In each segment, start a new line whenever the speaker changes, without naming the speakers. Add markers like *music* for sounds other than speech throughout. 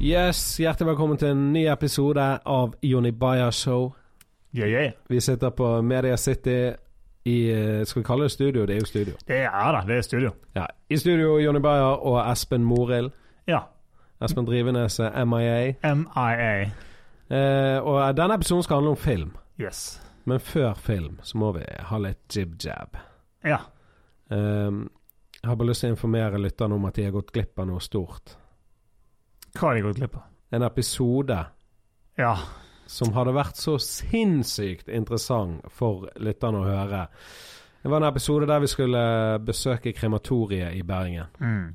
Yes, hjertelig velkommen til en ny episode av Jonny Bayer Show.
Yeah, yeah.
Vi sitter på Media City i eh, Skal vi kalle det studio? Det er jo studio.
Det er da, det er studio.
Ja, I studio Jonny Bayer og Espen Morild.
Ja.
Espen Drivenes er MIA.
MIA.
Eh, og denne episoden skal handle om film.
Yes.
Men før film så må vi ha litt jib-jab.
Ja.
Ehm, jeg har bare lyst til å informere lytterne om at de har gått glipp av noe stort.
Hva har de gått glipp av?
En episode
Ja.
som hadde vært så sinnssykt interessant for lytterne å høre. Det var en episode der vi skulle besøke krematoriet i Bergen
Mm.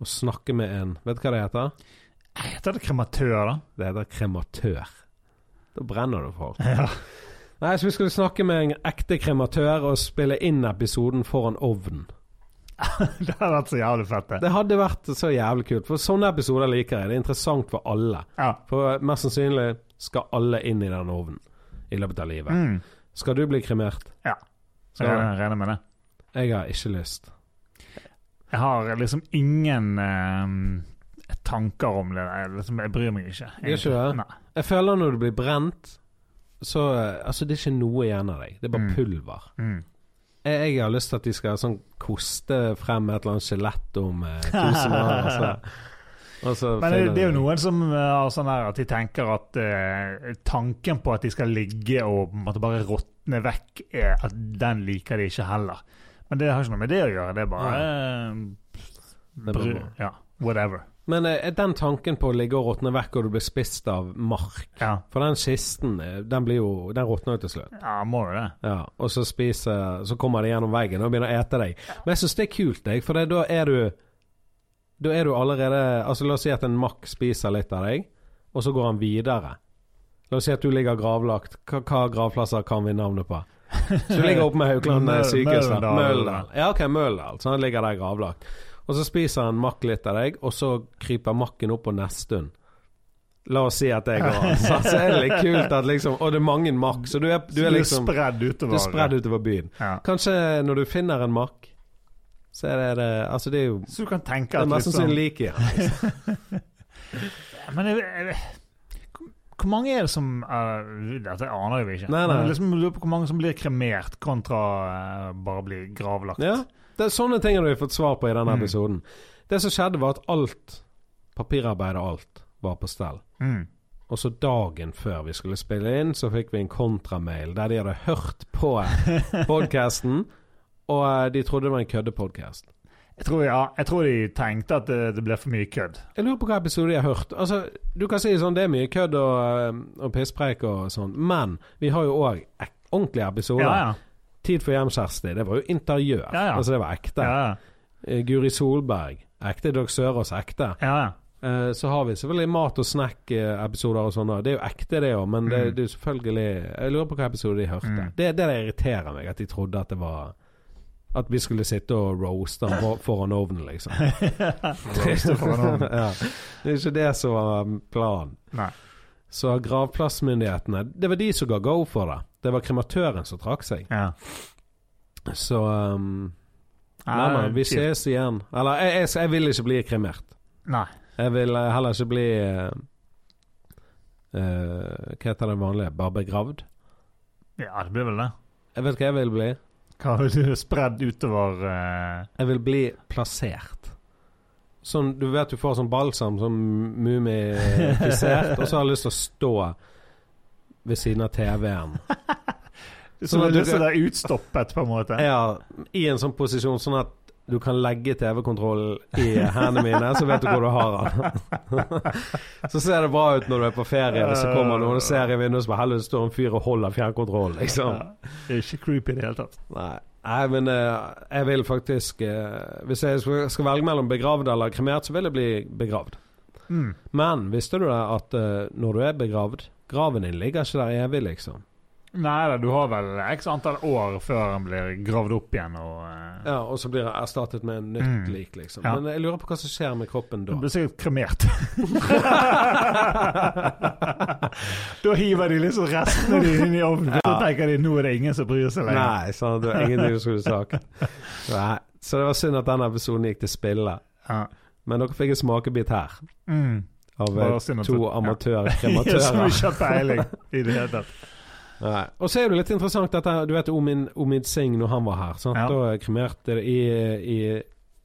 og snakke med en Vet du hva det heter?
Heter det krematør, da?
Det heter krematør. Da brenner du folk.
*laughs* Ja.
Nei, så vi skulle snakke med en ekte krematør og spille inn episoden foran ovnen.
Det hadde vært så jævlig fett, det.
Det hadde vært så jævlig kult, for sånne episoder liker jeg. Det er interessant for alle.
Ja.
For mest sannsynlig skal alle inn i den ovnen i løpet av livet.
Mm.
Skal du bli kremert?
Ja. Så
Skal
jeg
du?
regner- regner med det.
Jeg har ikke lyst.
Jeg har liksom ingen eh, tanker om det. Jeg, liksom, jeg bryr meg ikke.
Gjør ikke det?
Nei.
Jeg føler når du blir brent, så eh, Altså, det er ikke noe igjen av deg. Det er bare
Mm.
pulver.
Mm.
Jeg, jeg har lyst til at de skal sånn koste frem et eller annet skjelett om
*laughs*
eh, tusen år. og så- og så
Men det,
finner
det er
de-
jo noen som eh, har sånn der at de tenker at eh, tanken på at de skal ligge og på en måte bare råtne vekk, er at den liker de ikke heller. Men det har ikke noe med det å gjøre. Det er bare eh,
Det er bare
bru-
bra.
Ja, whatever.
Men eh, den tanken på å ligge og råtne vekk og du blir spist av mark
Ja,
For den kisten, eh, den blir jo Den råtner jo til slutt.
ja må jo det.
Ja, og så spiser Så kommer de gjennom veggen og begynner å ete deg. Men jeg syns det er kult, jeg, for det, da er du Da er du allerede Altså La oss si at en makk spiser litt av deg, og så går han videre. La oss si at du ligger gravlagt. Hva, hva gravplasser kan vi navnet på? Så du ligger oppe med Haukeland
Mø-
sykehus. da.
Møllendal.
Møllendal. Ja, ok, Møllendal. Så han ligger der gravlagt. Og så spiser han makk litt av deg, og så kryper makken opp på nestun. La oss si at det går *laughs* an. Så så er det litt kult at liksom Og det er mange makk, så du er, du er liksom
spredd utover.
det er spredd utover byen.
Ja.
Kanskje når du finner en mark, så er det, det Altså, det er jo
Så du kan
Det
tenke
er
at
mest
liksom-
sannsynlig lik igjen.
Men jeg, jeg, hvor- hvor mange er det som eh, Dette aner jeg jo ikke.
Nei, nei.
Men liksom, jeg lurer på hvor mange som blir kremert kontra eh, bare bli gravlagt.
Ja. Det er sånne ting har du fått svar på i denne
Mm.
episoden. Det som skjedde, var at alt papirarbeidet og alt var på stell.
Mm.
Og så dagen før vi skulle spille inn, så fikk vi en kontramail der de hadde hørt på
*laughs*
podkasten, og eh, de trodde det var en køddepodkast.
Jeg tror, ja, jeg tror de tenkte at det, det ble for mye kødd.
Jeg lurer på hva episode de har hørt. Altså, Du kan si sånn, det er mye kødd og, eh, og pisspreik og sånn, men vi har jo òg ordentlige episoder.
Ja, ja.
Tid for hjem, Kjersti. Det var jo interiør.
Ja, ja.
Altså, det var ekte.
ja, ja.
Eh, Guri Solberg. Ekte Dag Sørås. Ekte.
ja,
*laughs*
ja.
Eh, så har vi selvfølgelig mat- og snack-episoder og sånne. Det er jo ekte, det òg, men det,
Mm.
det er jo selvfølgelig Jeg lurer på hva episode de hørte.
Mm.
Det, det der irriterer meg, at de trodde at det var At vi skulle sitte og roaste han for- foran ovnen, liksom.
Roaste foran ovnen. *laughs*
ja. Det er ikke det som var um, planen.
Nei.
Så gravplassmyndighetene Det var de som ga go for det. Det var krematøren som trakk seg.
ja.
Så ehm, Nei, nei, vi
Ah, shit.
ses igjen. Eller, jeg, jeg, jeg vil ikke bli kremert.
Nei.
Jeg vil eh, heller ikke bli eh, eh, Hva heter det vanlige? Bare begravd?
Ja, det blir vel det.
Jeg vet hva jeg vil bli.
Hva har du spredd utover eh,
Jeg vil bli plassert. Sånn, Du vet du får sånn balsam, sånn mumifisert, og så har jeg lyst til å stå ved siden av TV-en.
Så
Sånn at
du
du-
så det er utstoppet, på en måte?
Ja, i en sånn posisjon sånn at du kan legge TV-kontrollen i hendene mine, så vet du hvor du har den. så ser det bra ut når du er på ferie, hvis det kommer noen og ser i vinduet som helvete står en fyr og holder fjernkontrollen, liksom.
Ja. Det er ikke creepy i det hele tatt.
Nei. Nei, men eh, jeg vil faktisk eh, Hvis jeg skal skal velge mellom begravd eller kremert, så vil jeg bli begravd.
Mm.
Men visste du det at eh, når du er begravd Graven din ligger ikke der evig, liksom.
Nei da, du har vel x antall år før han blir gravd opp igjen og eh,
Ja, Og så blir det erstattet med en nytt
Mm.
lik, liksom.
Ja.
Men jeg lurer på hva som skjer med kroppen da.
Du blir sikkert kremert. *laughs* da hiver de liksom restene dine inn i ovnen. Så tenker de nå er det ingen som bryr seg lenger.
Nei, sant? det var ingenting du skulle sagt. Nei. Så det var synd at den episoden gikk til spille.
Ja.
Men dere fikk en smakebit her.
Mm.
av eh,
Bare synd at
to
det- ja. *laughs* Som
amatørkrematører.
ikke har peiling i det hele tatt.
Nei. Og så er det litt interessant dette Du vet Omin, Omid Singh når han var her. Sant?
Ja.
Da kremerte de i, i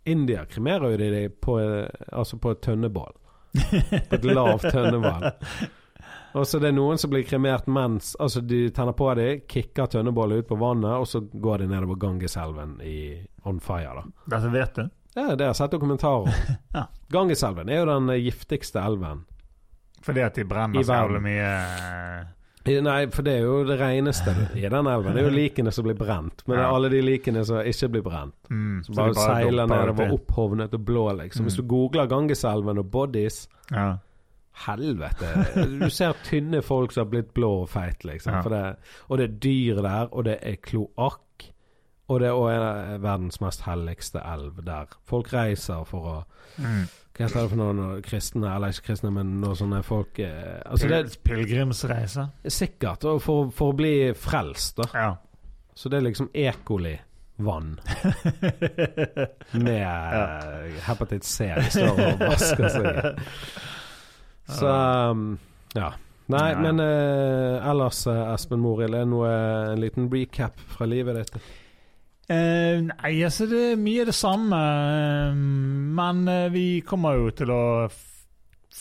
India kremerer jo de det på, eh, altså på et tønnebål. På et lavt
*laughs*
tønnebål. Og så det er noen som blir kremert mens Altså de tenner på dem, kicker tønnebålet ut på vannet, og så går de nedover Gangeselven i on fire, da.
Dette vet du.
Ja, det har jeg sett dokumentarer om.
*laughs* Ja.
Gangeselven er jo den eh, giftigste elven.
Fordi at de brenner
I
så jævlig
verden.
mye eh,
I- Nei, for det er jo det
*laughs*
reneste i den elven. Det er jo likene som blir brent. Men det er
Ja.
alle de likene som ikke blir brent.
mm,
Som bare,
de
seiler
dumper
nedover,
uti.
opphovnet og blå, liksom. Hvis du
Mm.
googler Gangeselven og bodies
Ja.
Helvete. Du ser tynne folk som har blitt blå og feite, liksom.
Ja.
For det, og det er dyr der, og det er kloakk. Og det er også en av verdens mest helligste elv der. Folk reiser for å
Mm.
Hva heter det for noen kristne, eller ikke kristne, men noen sånne folk eh, Altså det
Pil Pilegrimsreise.
er sikkert og for, for å bli frelst, da.
Ja.
Så det er liksom Ecoli-vann med
*laughs*
eh, hepatitt C de står og vasker seg i. Så um, ja. Nei,
Ja.
men eh, ellers, eh, Espen Morild, er det noe eh, en liten recap fra livet ditt?
Eh, nei, altså det er mye det samme. eh, Men eh, vi kommer jo til å f-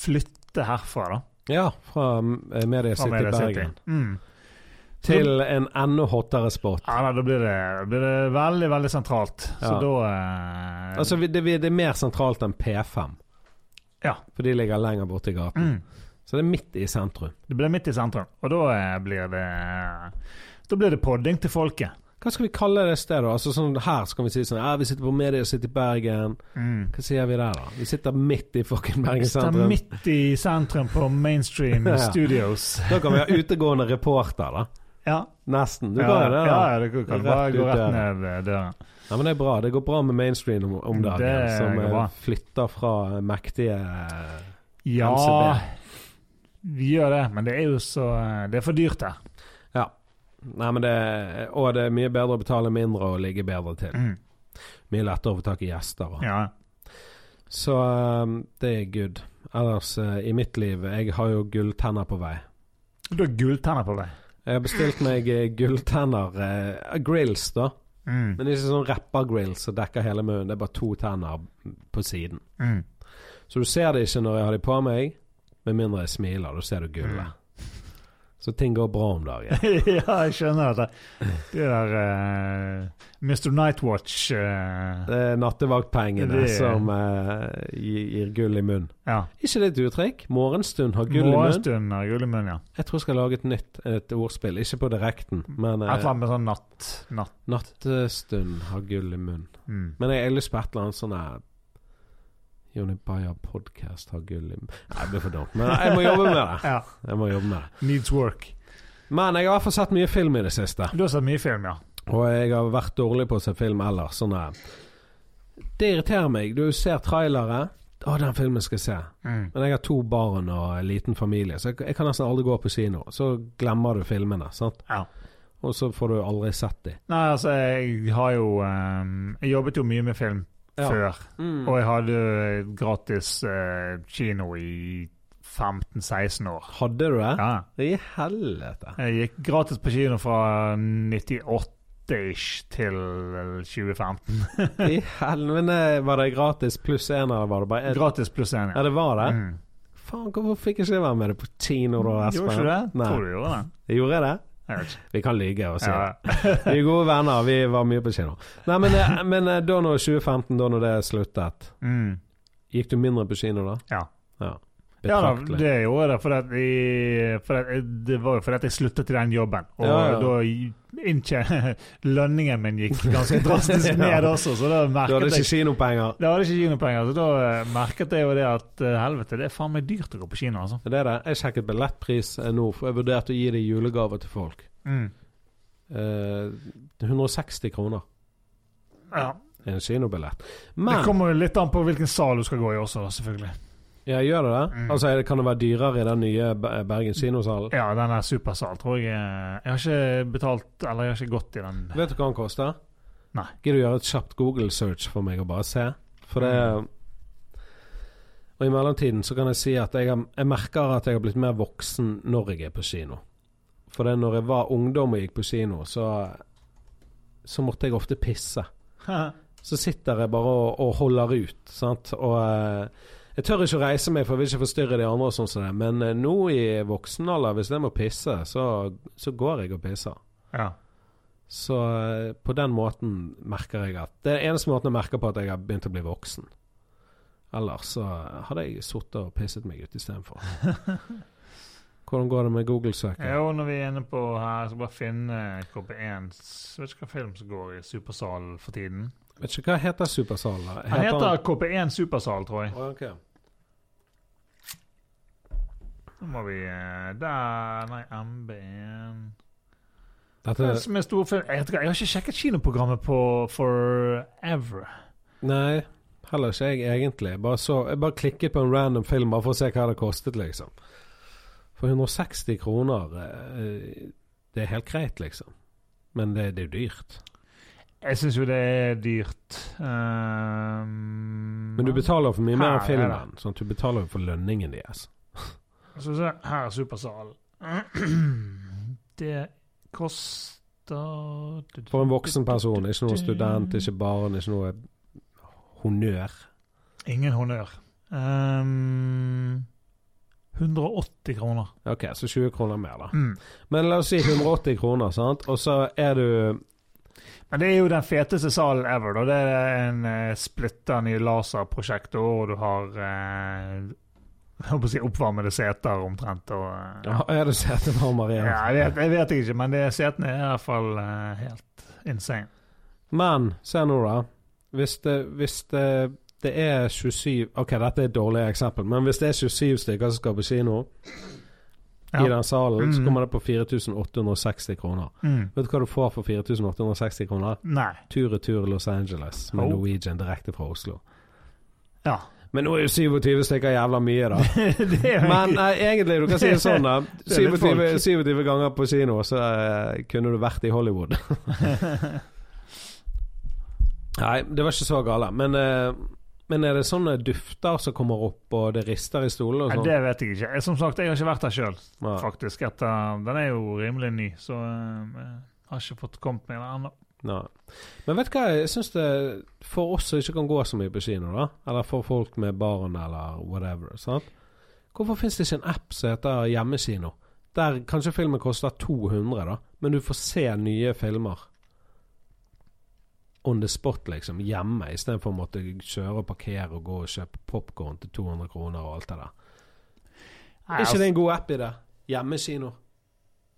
flytte herfra, da.
Ja, fra eh, Media
fra
City
Media City.
Bergen
Mm.
til en enda hottere spot.
Ja, nei, da blir det, da blir det veldig, veldig sentralt. Så
Ja.
da eh,
Altså, vi- det, vi- det er mer sentralt enn P5.
Ja.
For de ligger lenger borti gaten.
mm,
Så det er midt i sentrum.
Det blir midt i sentrum. Og da eh, blir det Da blir det podding til folket.
Hva skal vi kalle det stedet? Altså sånn Her skal vi si sånn ja, Vi sitter på Media City Bergen.
Mm.
Hva sier vi der, da? Vi sitter midt i fucking Bergen
Sitter
sentrum.
midt i sentrum på Mainstream
*laughs* Ja.
Studios.
Da kan vi *laughs* ha utegående reporter, da.
Ja.
Nesten. Du
ja,
kan jo det, da.
ja, ja, du kan
Rett
bare gå
ut
rett
døren.
ned eh, døren.
Ja, men det er bra. Det går bra med mainstream om, om dagen.
Det
som
går
eh,
bra.
flytter fra eh, mektige eh,
Ja,
NCB.
vi gjør det, men det er jo så eh, Det er for dyrt her.
Ja. Nei, men det Og det er mye bedre å betale mindre og ligge bedre til. Mye lettere å få tak i gjester. Og.
Mm. Ja.
Så eh, det er good. Ellers, eh, i mitt liv Jeg har jo gulltenner på vei.
Du har gulltenner på deg.
Jeg har bestilt meg eh, gulltenner eh, Grills, da.
Mm.
Men det er ikke sånn rapper-grills som dekker hele munnen. Det er bare to tenner på siden.
Mm.
Så du ser det ikke når jeg har de på meg, med mindre jeg smiler. Da ser du gullet.
Mm.
Så ting går bra om
*laughs*
dagen.
*laughs* ja, jeg skjønner det. Det der eh, Mr. Nightwatch eh,
Det er nattevaktpengene
Det-
som eh, gir, gir gull i munnen.
Ja.
Ikke det et uttrykk? Morgenstund har gull i munnen.
Morgenstund har gull i munnen, ja.
Jeg tror jeg skal lage et nytt et ordspill. Ikke på direkten, men
Et
eh,
eller annet med sånn natt. natt.
nattestund har gull i munnen.
Mm.
Men jeg har lyst på et eller annet sånn her Jonny Bayer podcast har gull i Nei, det blir for dumt. Men jeg må jobbe med det.
Ja.
Jeg må jobbe med det.
Needs work.
Men jeg har i hvert fall sett mye film i det siste.
Du har sett mye film, ja.
Og jeg har vært dårlig på å se film ellers. Sånn her. Det irriterer meg. Du ser trailere. Å, den filmen skal jeg se.
Mm.
Men jeg har to barn og en liten familie, så jeg, jeg kan nesten aldri gå på kino. Så glemmer du filmene, sant?
ja.
Og så får du aldri sett dem.
Nei, altså, jeg har jo eh, Jeg jobbet jo mye med film
Ja.
før.
Mm.
Og jeg hadde gratis eh, kino i 15-16 år.
Hadde du det?
Ja.
I helvete.
Jeg gikk gratis på kino fra 98-ish til eh, 2015.
*laughs* I hel... Men eh, var det gratis pluss én, eller var det bare én?
Gratis pluss én,
Ja, det var det?
Mm.
Faen, hvorfor fikk jeg ikke være med deg på kino da, Espen?
Gjorde ikke det?
Nei.
Tror du gjorde det?
Gjorde jeg det?
Jeg vet ikke.
Vi kan lyge og si
Ja.
Vi er gode venner, vi var mye på kino. Nei, men,
*laughs*
eh, men eh, da når 2015, da når det sluttet,
Mm.
gikk du mindre på kino da?
Ja.
Ja,
ja da,
Betraktelig.
det gjorde jeg. For, at jeg, for at jeg, det var jo fordi at jeg sluttet i den jobben. Og
Ja, ja.
da inntje- *laughs* Lønningen min gikk ganske drastisk
*laughs* Ja.
ned også, så da
Du hadde
merket jeg
ikke kinopenger.
Da hadde jeg ikke kinopenger, så da eh, merket jeg jo det at eh, helvete, det er faen meg dyrt å gå på kino, altså.
Det er det. Jeg sjekket billettpris eh, nå, for jeg vurderte å gi deg julegaver til folk. Eh, 160 kroner
Ja.
er en kinobillett.
Det
Men
kommer jo litt an på hvilken sal du skal gå i også, selvfølgelig.
ja, gjør det det?
Mm.
Altså, er det- Kan det være dyrere i den nye Be- Bergen kinosalen?
Ja, den er supersal, tror jeg. eh, Jeg har ikke betalt, eller jeg har ikke gått i den. *laughs*
Vet du hva den koster?
Nei.
Gidder du gjøre et kjapt Google search for meg og bare se? For det Og i mellomtiden så kan jeg si at jeg, har- jeg merker at jeg har blitt mer voksen når jeg er på kino. For det når jeg var ungdom og gikk på kino, så, så måtte jeg ofte pisse. Så sitter jeg bare og, og holder ut, sant. Og eh, jeg tør ikke å reise meg, for jeg vil ikke forstyrre de andre og sånn som det. Men eh, nå i voksen alder, hvis jeg må pisse, så, så går jeg og pisser.
Ja.
Så eh, på den måten merker jeg at Det er den eneste måten jeg merker på at jeg har begynt å bli voksen. Ellers så hadde jeg sittet og pisset meg ut
*laughs*
istedenfor. Hvordan går det med Google-søket?
Jo, når vi er inne på her, jeg skal bare finne KP1 s Vet ikke hva film som går i Supersalen for tiden.
Vet ikke hva heter Supersalen? da?
Han heter KP1 Supersal, tror jeg.
Å, ok.
Nå må vi eh, Der Nei, MB1
Dette,
Det som er stor film Jeg, vet ikke, jeg har ikke sjekket kinoprogrammet på Forever.
nei, heller ikke jeg, egentlig. Jeg bare, så, jeg bare klikket på en random film bare for å se hva det kostet, liksom. For 160 kroner eh, Det er helt greit, liksom. Men det, det er jo dyrt.
Jeg syns jo det er dyrt. Ehm,
Men du betaler for mye mer
Her er
filmen. Sånn at du betaler jo for lønningen deres.
Skal vi se, her er Supersalen. *clears throat* Det koster
For en voksen person. Ikke noe student, ikke barn, ikke noe honnør.
Ingen honnør. Ehm, 180 kroner.
Ok, så 20 kroner mer, da.
Mm.
Men la oss si 180 kroner, sant. Og så er du
Men det er jo den feteste salen ever. Da. Det er en eh, splitter ny laserprosjektor, og du har eh, jeg holdt på å si oppvarmede seter omtrent. Og, eh,
ja, Er du setevarmer
ja,
igjen?
jeg, vet, jeg vet ikke, men det, setene er i hvert fall eh, helt insane.
Men se nå, da. Hvis det, hvis det, det er 27 Ok, dette er et dårlig eksempel, men hvis det er 27 stykker som skal på kino
Ja.
i den salen, så
Mhm.
kommer det på 4860 kroner.
Mm.
Vet du hva du får for 4860 kroner?
Nei.
Tur-retur Los Angeles med
Oh.
Norwegian direkte fra Oslo.
Ja. *laughs*
Men nå er jo 27 stykker jævla mye, da.
det er jo
Men eh,
ikke-
nei, egentlig, du kan si det sånn, da.
*laughs* Det er litt
27,
folk.
27 ganger på kino, så eh, kunne du vært i
*laughs*
Hollywood. nei, det var ikke så gale. Men, eh, men er det sånne dufter som kommer opp, og det rister i stolen og
Nei,
sånn?
det vet jeg ikke. Jeg, som sagt, jeg har ikke vært der sjøl,
Nei.
faktisk. Etter, den er jo rimelig ny, så eh, jeg har ikke fått kommet meg der ennå.
Nei. Men vet du hva, jeg syns det for oss som ikke kan gå så mye på kino, da, eller for folk med barn eller whatever, sant? hvorfor fins det ikke en app som heter Hjemmekino? Der kanskje filmen koster 200, da, men du får se nye filmer on the spot, liksom, hjemme, istedenfor å måtte kjøre og parkere og gå og kjøpe popkorn til 200 kroner og alt det der. Er
altså-
ikke det en god app i det? Hjemmekino.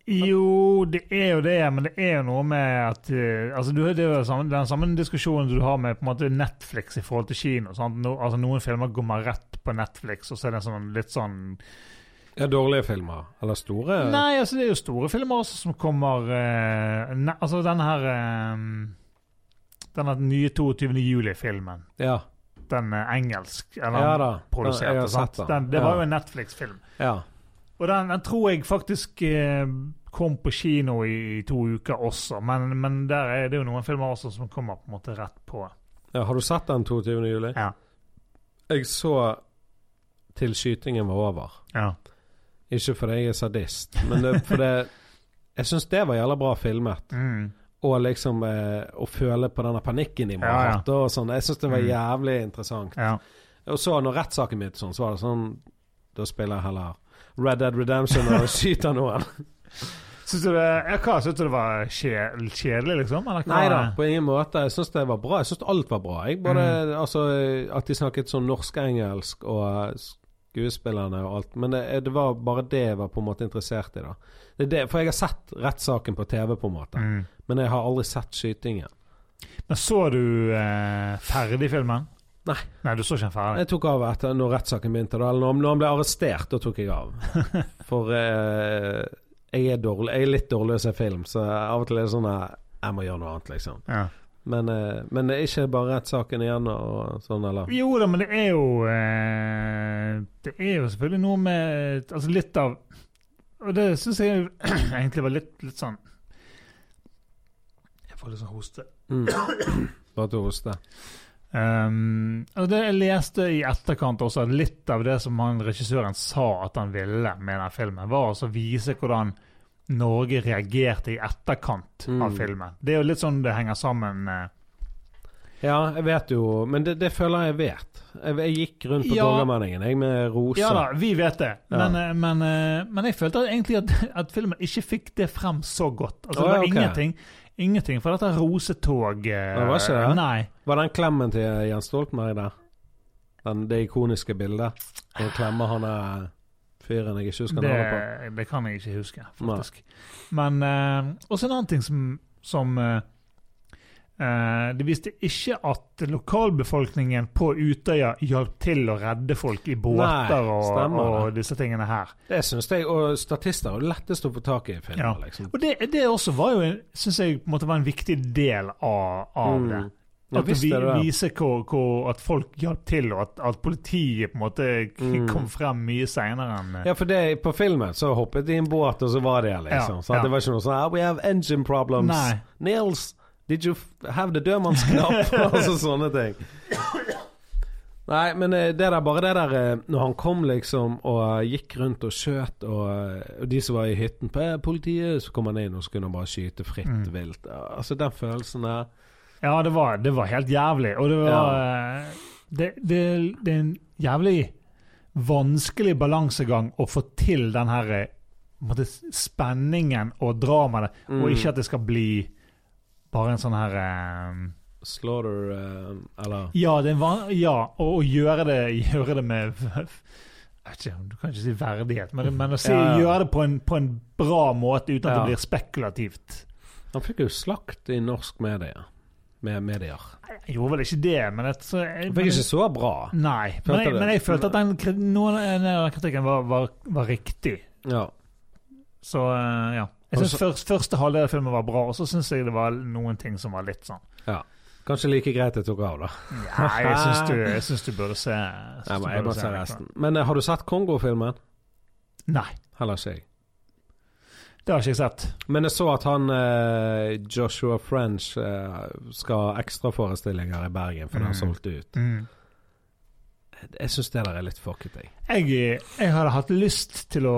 Jo, det er jo det, men det er jo noe med at eh, altså, du, Det er jo den samme, den samme diskusjonen du har med på en måte Netflix i forhold til kino. Sant? No, altså, noen filmer kommer rett på Netflix, og så er det en sånn, litt sånn
Ja, dårlige filmer. Eller store?
Nei, altså, det er jo store filmer også som kommer eh, ne, Altså, den her eh, Den her nye 22. juli-filmen.
Ja.
Den er engelsk. Eller
ja da.
produsert.
Jeg har
sant?
sett
Den, det
Ja.
var jo en Netflix-film.
Ja.
Og den, den tror jeg faktisk eh, kom på kino i, i to uker også, men, men der er det jo noen filmer også som kommer på en måte rett på.
Ja, har du sett den 22. juli?
Ja.
Jeg så til skytingen var over.
Ja.
Ikke fordi jeg er sadist, men det, fordi *laughs* jeg syns det var jævla bra filmet.
Mm.
Og liksom eh, å føle på denne panikken i meg.
Ja, ja.
og sånn. Jeg syns det var
Mm.
jævlig interessant.
ja.
Og så når rettssaken min sånn, så var det sånn Da spiller jeg heller Red Dead Redemption og *laughs* skyter noen.
Syns du det, ja, hva, synes du det var kje- kjedelig, liksom? Eller hva?
Nei da, på ingen måte. Jeg syns det var bra. Jeg syns alt var bra. Jeg både, altså, at de snakket sånn norsk-engelsk og eh, skuespillerne og alt. Men det, eh, det var bare det jeg var på en måte interessert i. da. Det, er det, for jeg har sett rettssaken på TV, på en måte.
Mm.
Men jeg har aldri sett skytingen.
Men så du eh, ferdig filmen?
Nei.
Nei, du så ikke den ferdig?
Jeg tok av etter når rettssaken begynte. da, eller når, når han ble arrestert, da tok jeg av. For eh, jeg, er dårlig, jeg er litt dårlig til å se film, så av og til er det sånn eh, jeg må gjøre noe annet, liksom.
Ja.
Men, eh, men det er ikke bare rettssaken igjen og sånn, eller?
Jo da, men det er jo eh, Det er jo selvfølgelig noe med Altså litt av Og det syns jeg *clears throat* egentlig var litt, litt sånn Jeg får litt sånn hoste.
Mm. Bare til å hoste.
Um, og det Jeg leste i etterkant også at litt av det som han, regissøren sa at han ville med den filmen, var også å vise hvordan Norge reagerte i etterkant
Mm.
av filmen. Det er jo litt sånn det henger sammen. eh.
Ja, jeg vet jo Men det, det føler jeg vet. Jeg, jeg gikk rundt på
Ja.
Torgallmenningen, jeg, med roser.
Ja da, vi vet det,
Ja.
men, eh, men, eh, men jeg følte egentlig at, *laughs* at filmen ikke fikk det frem så godt.
Å,
Altså, det
ja,
var
ok.
ingenting, ingenting for dette rosetoget.
Det var ikke det?
Nei.
Var den klemmen til Jens Stoltenberg der? Den, det ikoniske bildet? Han klemmer han der fyren jeg ikke husker navnet på.
det, det kan jeg ikke huske, faktisk. Men eh, også en annen ting som, som eh, eh, Det viste ikke at lokalbefolkningen på Utøya hjalp til å redde folk i båter og,
stemmer
og disse tingene her.
Det syns jeg, og statister er jo lettest å få tak i i filmer,
Ja.
liksom.
Og det, det også var jo, syns jeg, på en måte var en viktig del av, av det.
Mm. Ja,
At det
visst
vi,
er det det.
viser hvor, hvor at folk hjalp til, og at, at politiet på en måte k-
Mm.
kom frem mye seinere enn eh,
Ja, for det, på filmen så hoppet de i en båt, og så var de her, liksom.
Ja,
sant?
ja.
Det var ikke noe sånn ah, 'We have engine problems'.
Nei.
Nils, did you f- have the
*laughs*
dørmannsknapp? altså sånne ting. Nei, men eh, det der, bare det der eh, Når han kom liksom og eh, gikk rundt og skjøt, og, eh, og de som var i hytten på eh, politiet, så kom han inn, og så kunne han bare skyte fritt
Mm.
vilt. Altså den følelsen der.
Ja, det var, det var helt jævlig. Og det var eh, det, det, det er en jævlig vanskelig balansegang å få til den her eh, på en måte, spenningen og dramaet,
Mm.
og ikke at det skal bli bare en sånn her eh,
Slaughter eh, Eller
Ja, det er en van ja og, og gjøre, det, gjøre det med *laughs* Jeg vet ikke, Du kan ikke si verdighet, men, men å si,
Ja, ja.
gjøre det på en, på en bra måte uten at
Ja.
det blir spekulativt.
Han fikk jo slakt i norsk media. Med medier.
Jeg gjorde vel ikke det, men jeg, så, jeg,
Han fikk ikke så bra.
Nei, men
Følte
jeg,
det.
men jeg følte at den, kri- noen av den kritikken var, var, var riktig.
Ja.
Så eh, ja. Jeg synes først, Første halvdel av filmen var bra, og så syns jeg det var noen ting som var litt sånn
Kanskje like greit jeg tok av, da.
Nei, jeg syns
*laughs*
du, jeg synes du burde se jeg synes
Nei,
du
men jeg
burde
må
se
se
den.
resten. Men eh, har du sett Kongo-filmen?
Nei,
Heller ikke jeg.
det har ikke jeg sett.
Men jeg så at han eh, Joshua French eh, skal ha ekstraforestillinger i Bergen, for den
Mm.
har solgt ut. Jeg syns det der er litt fucket, jeg.
Jeg, jeg hadde hatt lyst til å,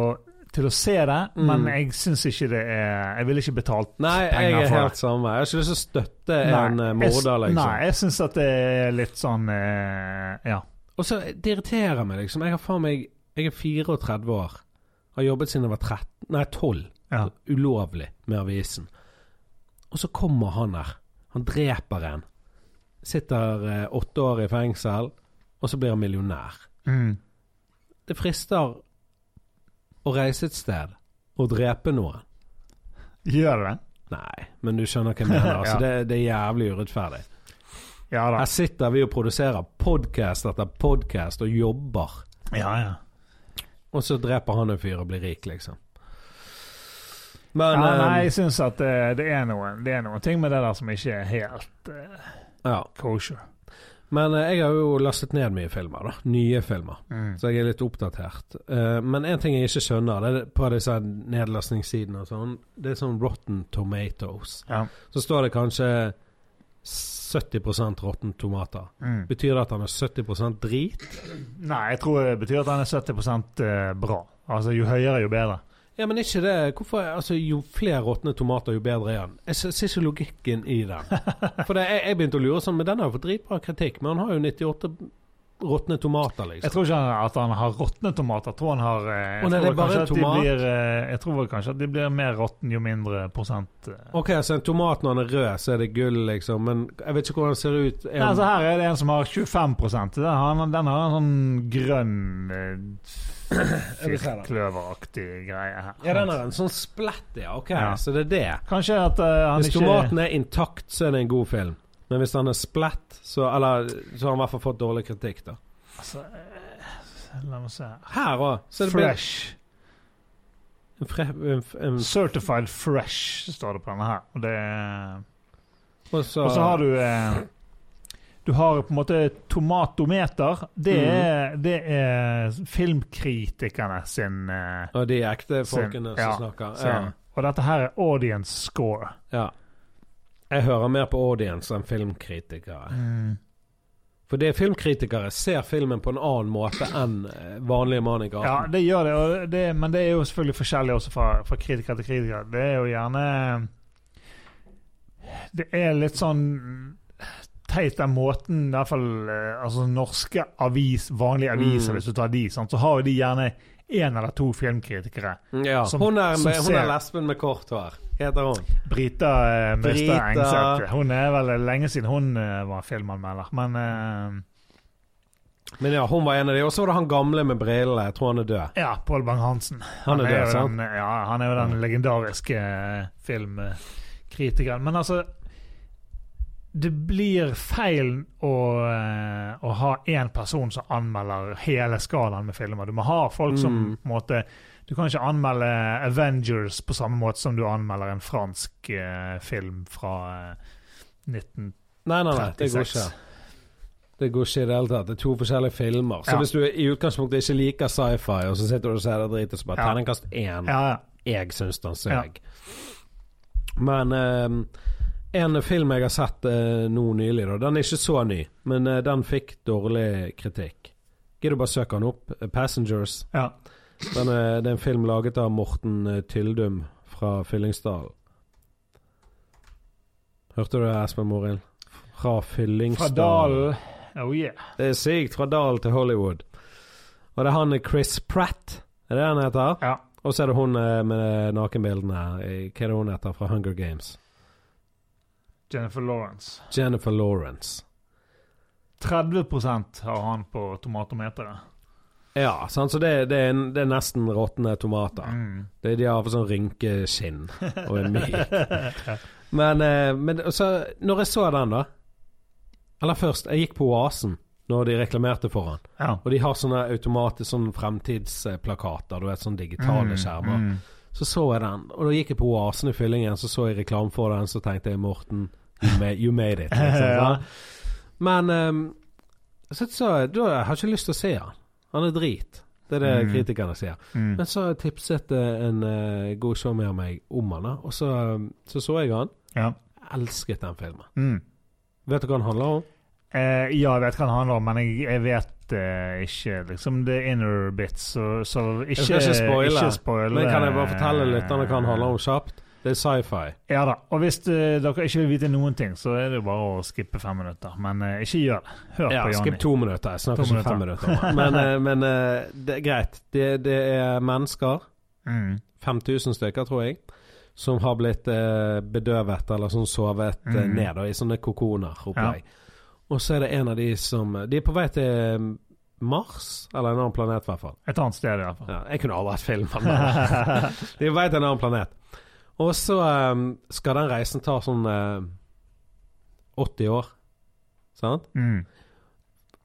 til å se det,
Mm.
men jeg syns ikke det er Jeg ville ikke betalt
Nei, jeg
penger
er
for det.
helt samme. Jeg har ikke lyst til å støtte
Nei,
en eh,
jeg s-
morder, liksom.
Nei, jeg syns at det er litt sånn eh, Ja.
Og så det irriterer meg, liksom. Jeg har faen meg Jeg er 34 år. Har jobbet siden jeg var 13 Nei, 12.
ja.
ulovlig med avisen. Og så kommer han her. Han dreper en. Sitter eh, åtte år i fengsel, og så blir han millionær.
Mm.
Det frister å reise et sted og drepe noen.
Gjør det det?
Nei, men du skjønner hva jeg mener.
*laughs*
Altså,
Ja.
det, det er jævlig urettferdig.
Ja da.
Her sitter vi og produserer podkast etter podkast og jobber,
Ja, ja.
og så dreper han en fyr og blir rik, liksom. Men
ja,
eh,
nei, jeg syns at eh, det, er noen, det er noen ting med det der som ikke er helt eh,
ja.
kosher.
Men eh, jeg har jo lastet ned mye filmer, da. Nye filmer.
Mm.
Så jeg er litt oppdatert. Eh, men en ting jeg ikke skjønner, det er på disse nedlastningssidene og sånn, det er sånn Rotten Tomatoes.
Ja.
Så står det kanskje 70 råtne tomater. Betyr det at han er 70 drit?
Mm. Nei, jeg tror det betyr at den er 70 eh, bra. Altså, jo høyere, jo bedre.
Ja, men ikke det. Hvorfor, altså, jo flere råtne tomater, jo bedre er han. Jeg ser ser ikke logikken i
*laughs*
den. For det, jeg, jeg begynte å lure sånn, men den har jo fått dritbra kritikk. Men han har jo 98 råtne tomater,
Jeg
liksom.
tror ikke han- at han har råtne tomater. Jeg tror han har
Å,
eh, jeg,
nei, det er
tror
bare
kanskje
en
at de
tomat.
blir, eh, jeg tror vel kanskje at de blir mer råtne jo mindre prosent eh.
Ok, så en tomat når den er rød, så er det gull, liksom. Men jeg vet ikke hvordan den ser ut. Er
Nei,
den-
altså Her er det en som har 25 Den har, den har en sånn grønn eh,
Jeg vil se den.
firkløveraktig greie her.
Ja, den er en sånn splett, ja. Ok,
Ja.
så det er det.
Kanskje at eh, han
Hvis
ikke
tomaten er intakt, så er det en god film. Men hvis den er splett, så, eller, så har han i hvert fall fått dårlig kritikk, da.
Altså, eh, la meg se her.
Her òg. Så er det ble-
Fresh.
en fre, en, f- en,
Certified fresh, står det på denne her. Og, det,
og så,
og så har du eh, Du har på en måte tomatometer. Det
Mm.
er, det er filmkritikerne sin, eh,
Og de ekte
Sin-
folkene som
ja,
snakker.
sin
Ja,
Og dette her er audience score.
ja. Jeg hører mer på audience enn filmkritikere. For det er filmkritikere ser filmen på en annen måte enn eh, vanlige mann i
Ja,
gaten.
det gjør det, og det, men det er jo selvfølgelig forskjellig også fra, fra kritiker til kritiker. Det er jo gjerne Det er litt sånn teit den måten, i hvert fall eh, altså norske avis, vanlige aviser,
Mm.
hvis du tar de, sant, så har jo de gjerne én eller to filmkritikere.
Ja, ja.
Som-
hun er,
som
med, hun
ser-
er lesben med kort hår. Heter hun.
Brita eh, Møystad
Brita.
Engseth. Hun er vel lenge siden hun eh, var filmanmelder, men eh,
Men ja, hun var en av de. Og så var det han gamle med brillene. Jeg tror han er død.
Ja, Pål Bang-Hansen.
Han er
jo
død, sant?
den, ja, han er jo den legendariske eh, filmkritikeren. Men altså Det blir feil å, eh, å ha én person som anmelder hele skalaen med filmer. Du må ha folk som
Mm.
på en måte Du kan ikke anmelde Avengers på samme måte som du anmelder en fransk eh, film fra eh, 19...
Nei, nei, nei. Det går
36.
ikke. Det går ikke i det hele tatt. Det er to forskjellige filmer. Så
Ja.
hvis du i utgangspunktet ikke liker sci-fi, og så sitter du og ser det dritet, så bare
Ja.
terningkast én.
Ja, ja.
Jeg syns den
Ja.
søg. Men eh, en film jeg har sett eh, nå nylig, da. Den er ikke så ny, men eh, den fikk dårlig kritikk. Gidder du bare søke den opp? Eh, 'Passengers'.
ja.
Den er, det er en film laget av Morten eh, Tyldum fra Fyllingsdalen. Hørte du det, Espen Morild? Fra
Fra
Fyllingsdalen.
Dalen Oh yeah.
Det er sykt. Fra dal til Hollywood. Og det er han eh, Chris Pratt, er det han heter?
Ja.
Og så er det hun eh, med nakenbildene. eh, Hva er det hun heter fra Hunger Games?
Jennifer Lawrence.
Jennifer Lawrence.
30 har han på tomatometeret.
Ja, sant? så det, det, er, det er nesten råtne tomater.
Mm.
Det, de har sånn rynkeskinn og er
*laughs*
myk. Men, eh, men så, når jeg så den, da Eller først, jeg gikk på Oasen når de reklamerte for han.
Ja.
Og de har sånne automater, sånne fremtidsplakater, du vet, sånne digitale skjermer.
Mm.
Så så jeg den, og da gikk jeg på Oasen i fyllingen, så så jeg reklame for den, så tenkte jeg Morten, you made, you made it.
*laughs*
Liksom,
Ja.
sant? Men ehm, så, så da har jeg ikke lyst til å se han. Han er drit. Det er det
Mm.
kritikerne sier.
Mm.
Men så tipset eh, en eh, god showmer av meg om han, da, og så ehm, så, så jeg han.
Ja.
Jeg elsket den filmen.
Mm.
Vet du hva den handler om?
Eh, ja, jeg vet hva det handler om, men jeg, jeg vet eh, ikke liksom the inner bits, så, så ikke
skal ikke spoile,
ikke spoile. eh,
Men kan jeg bare fortelle lytterne hva den handler om kjapt? Det er sci-fi.
Ja da. Og hvis eh, dere ikke vil vite noen ting, så er det jo bare å skippe fem minutter. Men eh, ikke gjør det. Hør
Ja,
på Jonny.
skriv to minutter. Jeg snakker
To
ikke fem minutter. om det. Men, eh, men eh, det er greit. Det, det er mennesker,
Mm.
5000 stykker tror jeg, som har blitt eh, bedøvet eller sånn sovet eh,
Mhm.
ned da, i sånne kokoner. opplegg. Og så er det en av de som eh, De er på vei til eh, Mars, eller en annen planet i hvert fall.
Et annet sted, i hvert
*laughs*
fall.
Ja, jeg kunne aldri vært filmen.
*laughs*
men- de er på vei til en annen planet. Og så eh, skal den reisen ta sånn eh, 80 år. Sant?
Mm.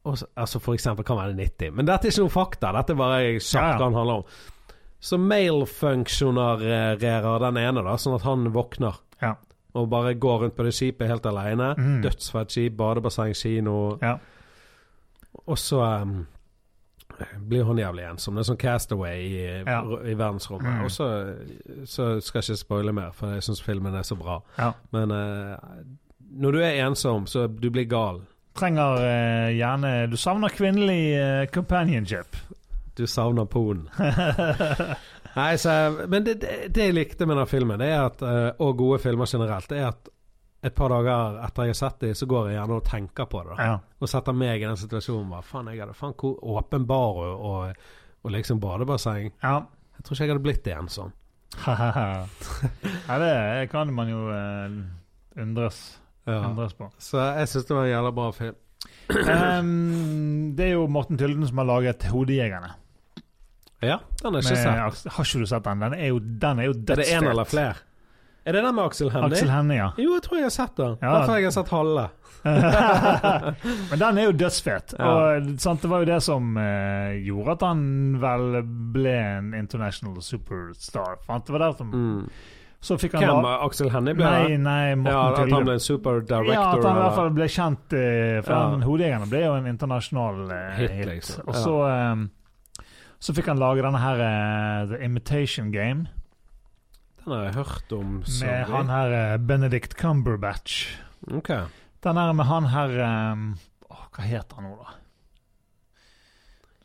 Og så- altså for eksempel kan være 90. Men dette er ikke noe fakta. Dette er bare jeg
Ja, ja.
kjapt hva den handler om. Så mailfunksjonerer den ene, da, sånn at han våkner.
Ja.
Og bare går rundt på det skipet helt alene.
Mm.
Dødsfett skip, badebasseng, kino.
Ja.
Og så em, blir han jævlig ensom. Det er sånn castaway i,
Ja.
i verdensrommet.
Mm.
Og så, så skal jeg ikke spoile mer, for jeg syns filmen er så bra.
Ja.
Men eh, når du er ensom, så du blir gal.
Trenger eh, gjerne Du savner kvinnelig eh, companionship.
Du savner *laughs* poen. Nei, så, men det, det, det jeg likte med den filmen, det er at, eh, og gode filmer generelt, det er at et par dager etter jeg har sett dem, så går jeg gjerne og tenker på det. da.
ja.
Og setter meg i den situasjonen. Hva faen, jeg hadde faen hvor åpen bar og, og, og liksom badebasseng.
ja. *laughs*
Jeg tror ikke jeg hadde blitt en sånn.
ja, det kan man jo eh, undres,
Ja.
undres på.
Så jeg syns det var en jævla bra film.
Ehm, det er jo Morten Tylden som har laget 'Hodejegerne'.
Ja, den har jeg
Med
ikke sett.
Aks- har ikke du sett den? Den er jo, den er jo
Er det
dødsfet.
én eller flere? Er det den med Aksel Hennie?
Aksel Hennie,
*laughs*
ja.
Jo, jeg tror jeg har sett den.
Ja.
Derfor har jeg sett halve.
Men den er jo dødsfet.
Ja.
Og eh, sant, det var jo det som eh, gjorde at han vel ble en international superstar. For det var der som,
Mm.
Så fikk han
Hvem eh,
la-
Aksel Hennie ble? det?
Nei, nei, Morten
Ja, at
Tylden.
han ble en super director.
Ja, at han i hvert
eller-
fall ble kjent eh, For
Ja.
han Hodejegerne ble jo en internasjonal eh,
Hit,
hit.
liksom.
Og
Ja.
så eh, Så fikk han lage denne her eh, The Imitation Game
Den har jeg hørt om. så
med
vidt.
han her eh, Benedict Cumberbatch.
Ok.
Den her med han her eh, åh, Hva heter han nå, da?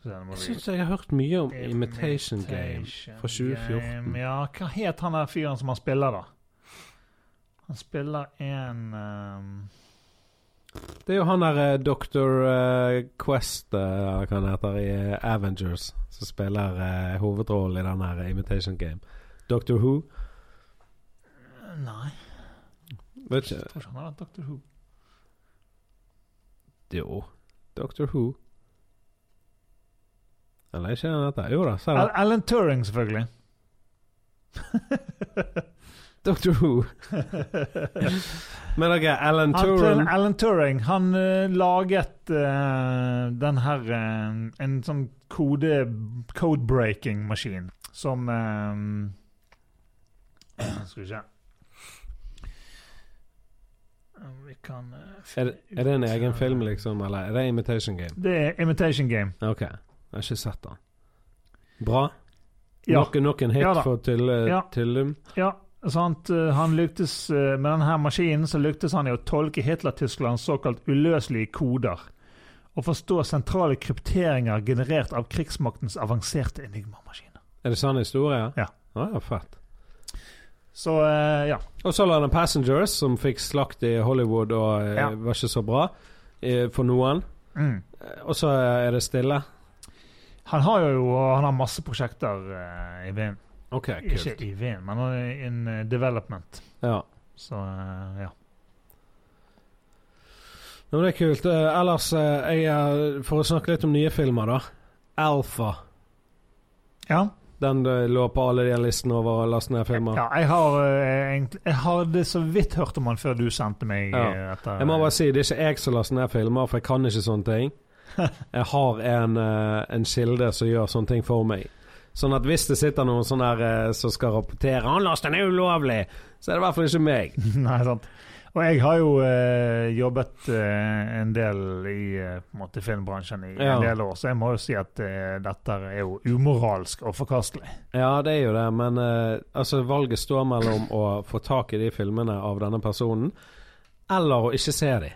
Så den må
Jeg
vi-
syns jeg har hørt mye om Imitation Game fra 2014.
Game, Ja, hva het han der fyren som han spiller, da? Han spiller en ehm,
Det er jo han der eh, Dr. eh, Quest, eh, hva han heter, i eh, Avengers, som spiller eh, hovedrollen i den her Imitation Game. Dr. Who?
Nei,
Vet
jeg
ikke.
tror ikke han har vært Dr. Who.
Jo. Dr. Who. Eller ikke han heter Jo da, sa
Al
det.
Alan Turing, selvfølgelig.
Dr.
*laughs*
Who. Men ok, Alan
Han,
Turing
Alan Turing han eh, laget eh, den her eh, En sånn kode code-breaking-maskin som eh, *clears throat* Skal vi se Om Vi kan eh,
er,
finne
det- er det en
ut,
egen
eh,
film, liksom? Eller er det Imitation Game?
Det er Imitation Game.
Ok, jeg har ikke sett den. Bra.
Ja.
Nok, nok en hit
Ja da.
for til, eh,
Ja.
Tillum.
ja sant? Eh, Han lyktes, eh, med denne maskinen så lyktes han i å tolke Hitler-Tysklands såkalt uløselige koder. Og forstå sentrale krypteringer generert av krigsmaktens avanserte enigmamaskiner.
Er det sann historie?
Ja.
Ah, ja, fett.
Så eh, ja.
Og så la den Passengers, som fikk slakt i Hollywood og eh,
Ja.
var ikke så bra eh, for noen.
Mm.
Eh, Og så eh, er det stille.
Han har jo han har masse prosjekter eh, i vinden.
Ok,
Ikke
kult.
i vinden, men han er in eh, development.
Ja.
Så eh, ja.
Ja, Men det er kult. Eh, Ellers, eh, jeg, eh, for å snakke litt om nye filmer, da. Alpha.
Ja.
Den eh, lå på alle de listene over last ned filmer.
ja jeg, har, eh, egentlig, jeg hadde så vidt hørt om han før du sendte meg
Ja.
eh, dette.
Jeg må bare si, det er ikke jeg som laster ned filmer, for jeg kan ikke sånne ting. Jeg har en, eh, en kilde som gjør sånne ting for meg. Sånn at hvis det sitter noen sånn der eh, som skal rapportere 'Han laster ned ulovlig', så er det i hvert fall ikke meg.
*laughs* Nei, sant. Og jeg har jo eh, jobbet eh, en del i eh, på en måte filmbransjen i
Ja.
en del år, så jeg må jo si at eh, dette er jo umoralsk og forkastelig.
Ja, det er jo det, men eh, altså, valget står mellom å få tak i de filmene av denne personen, eller å ikke se de.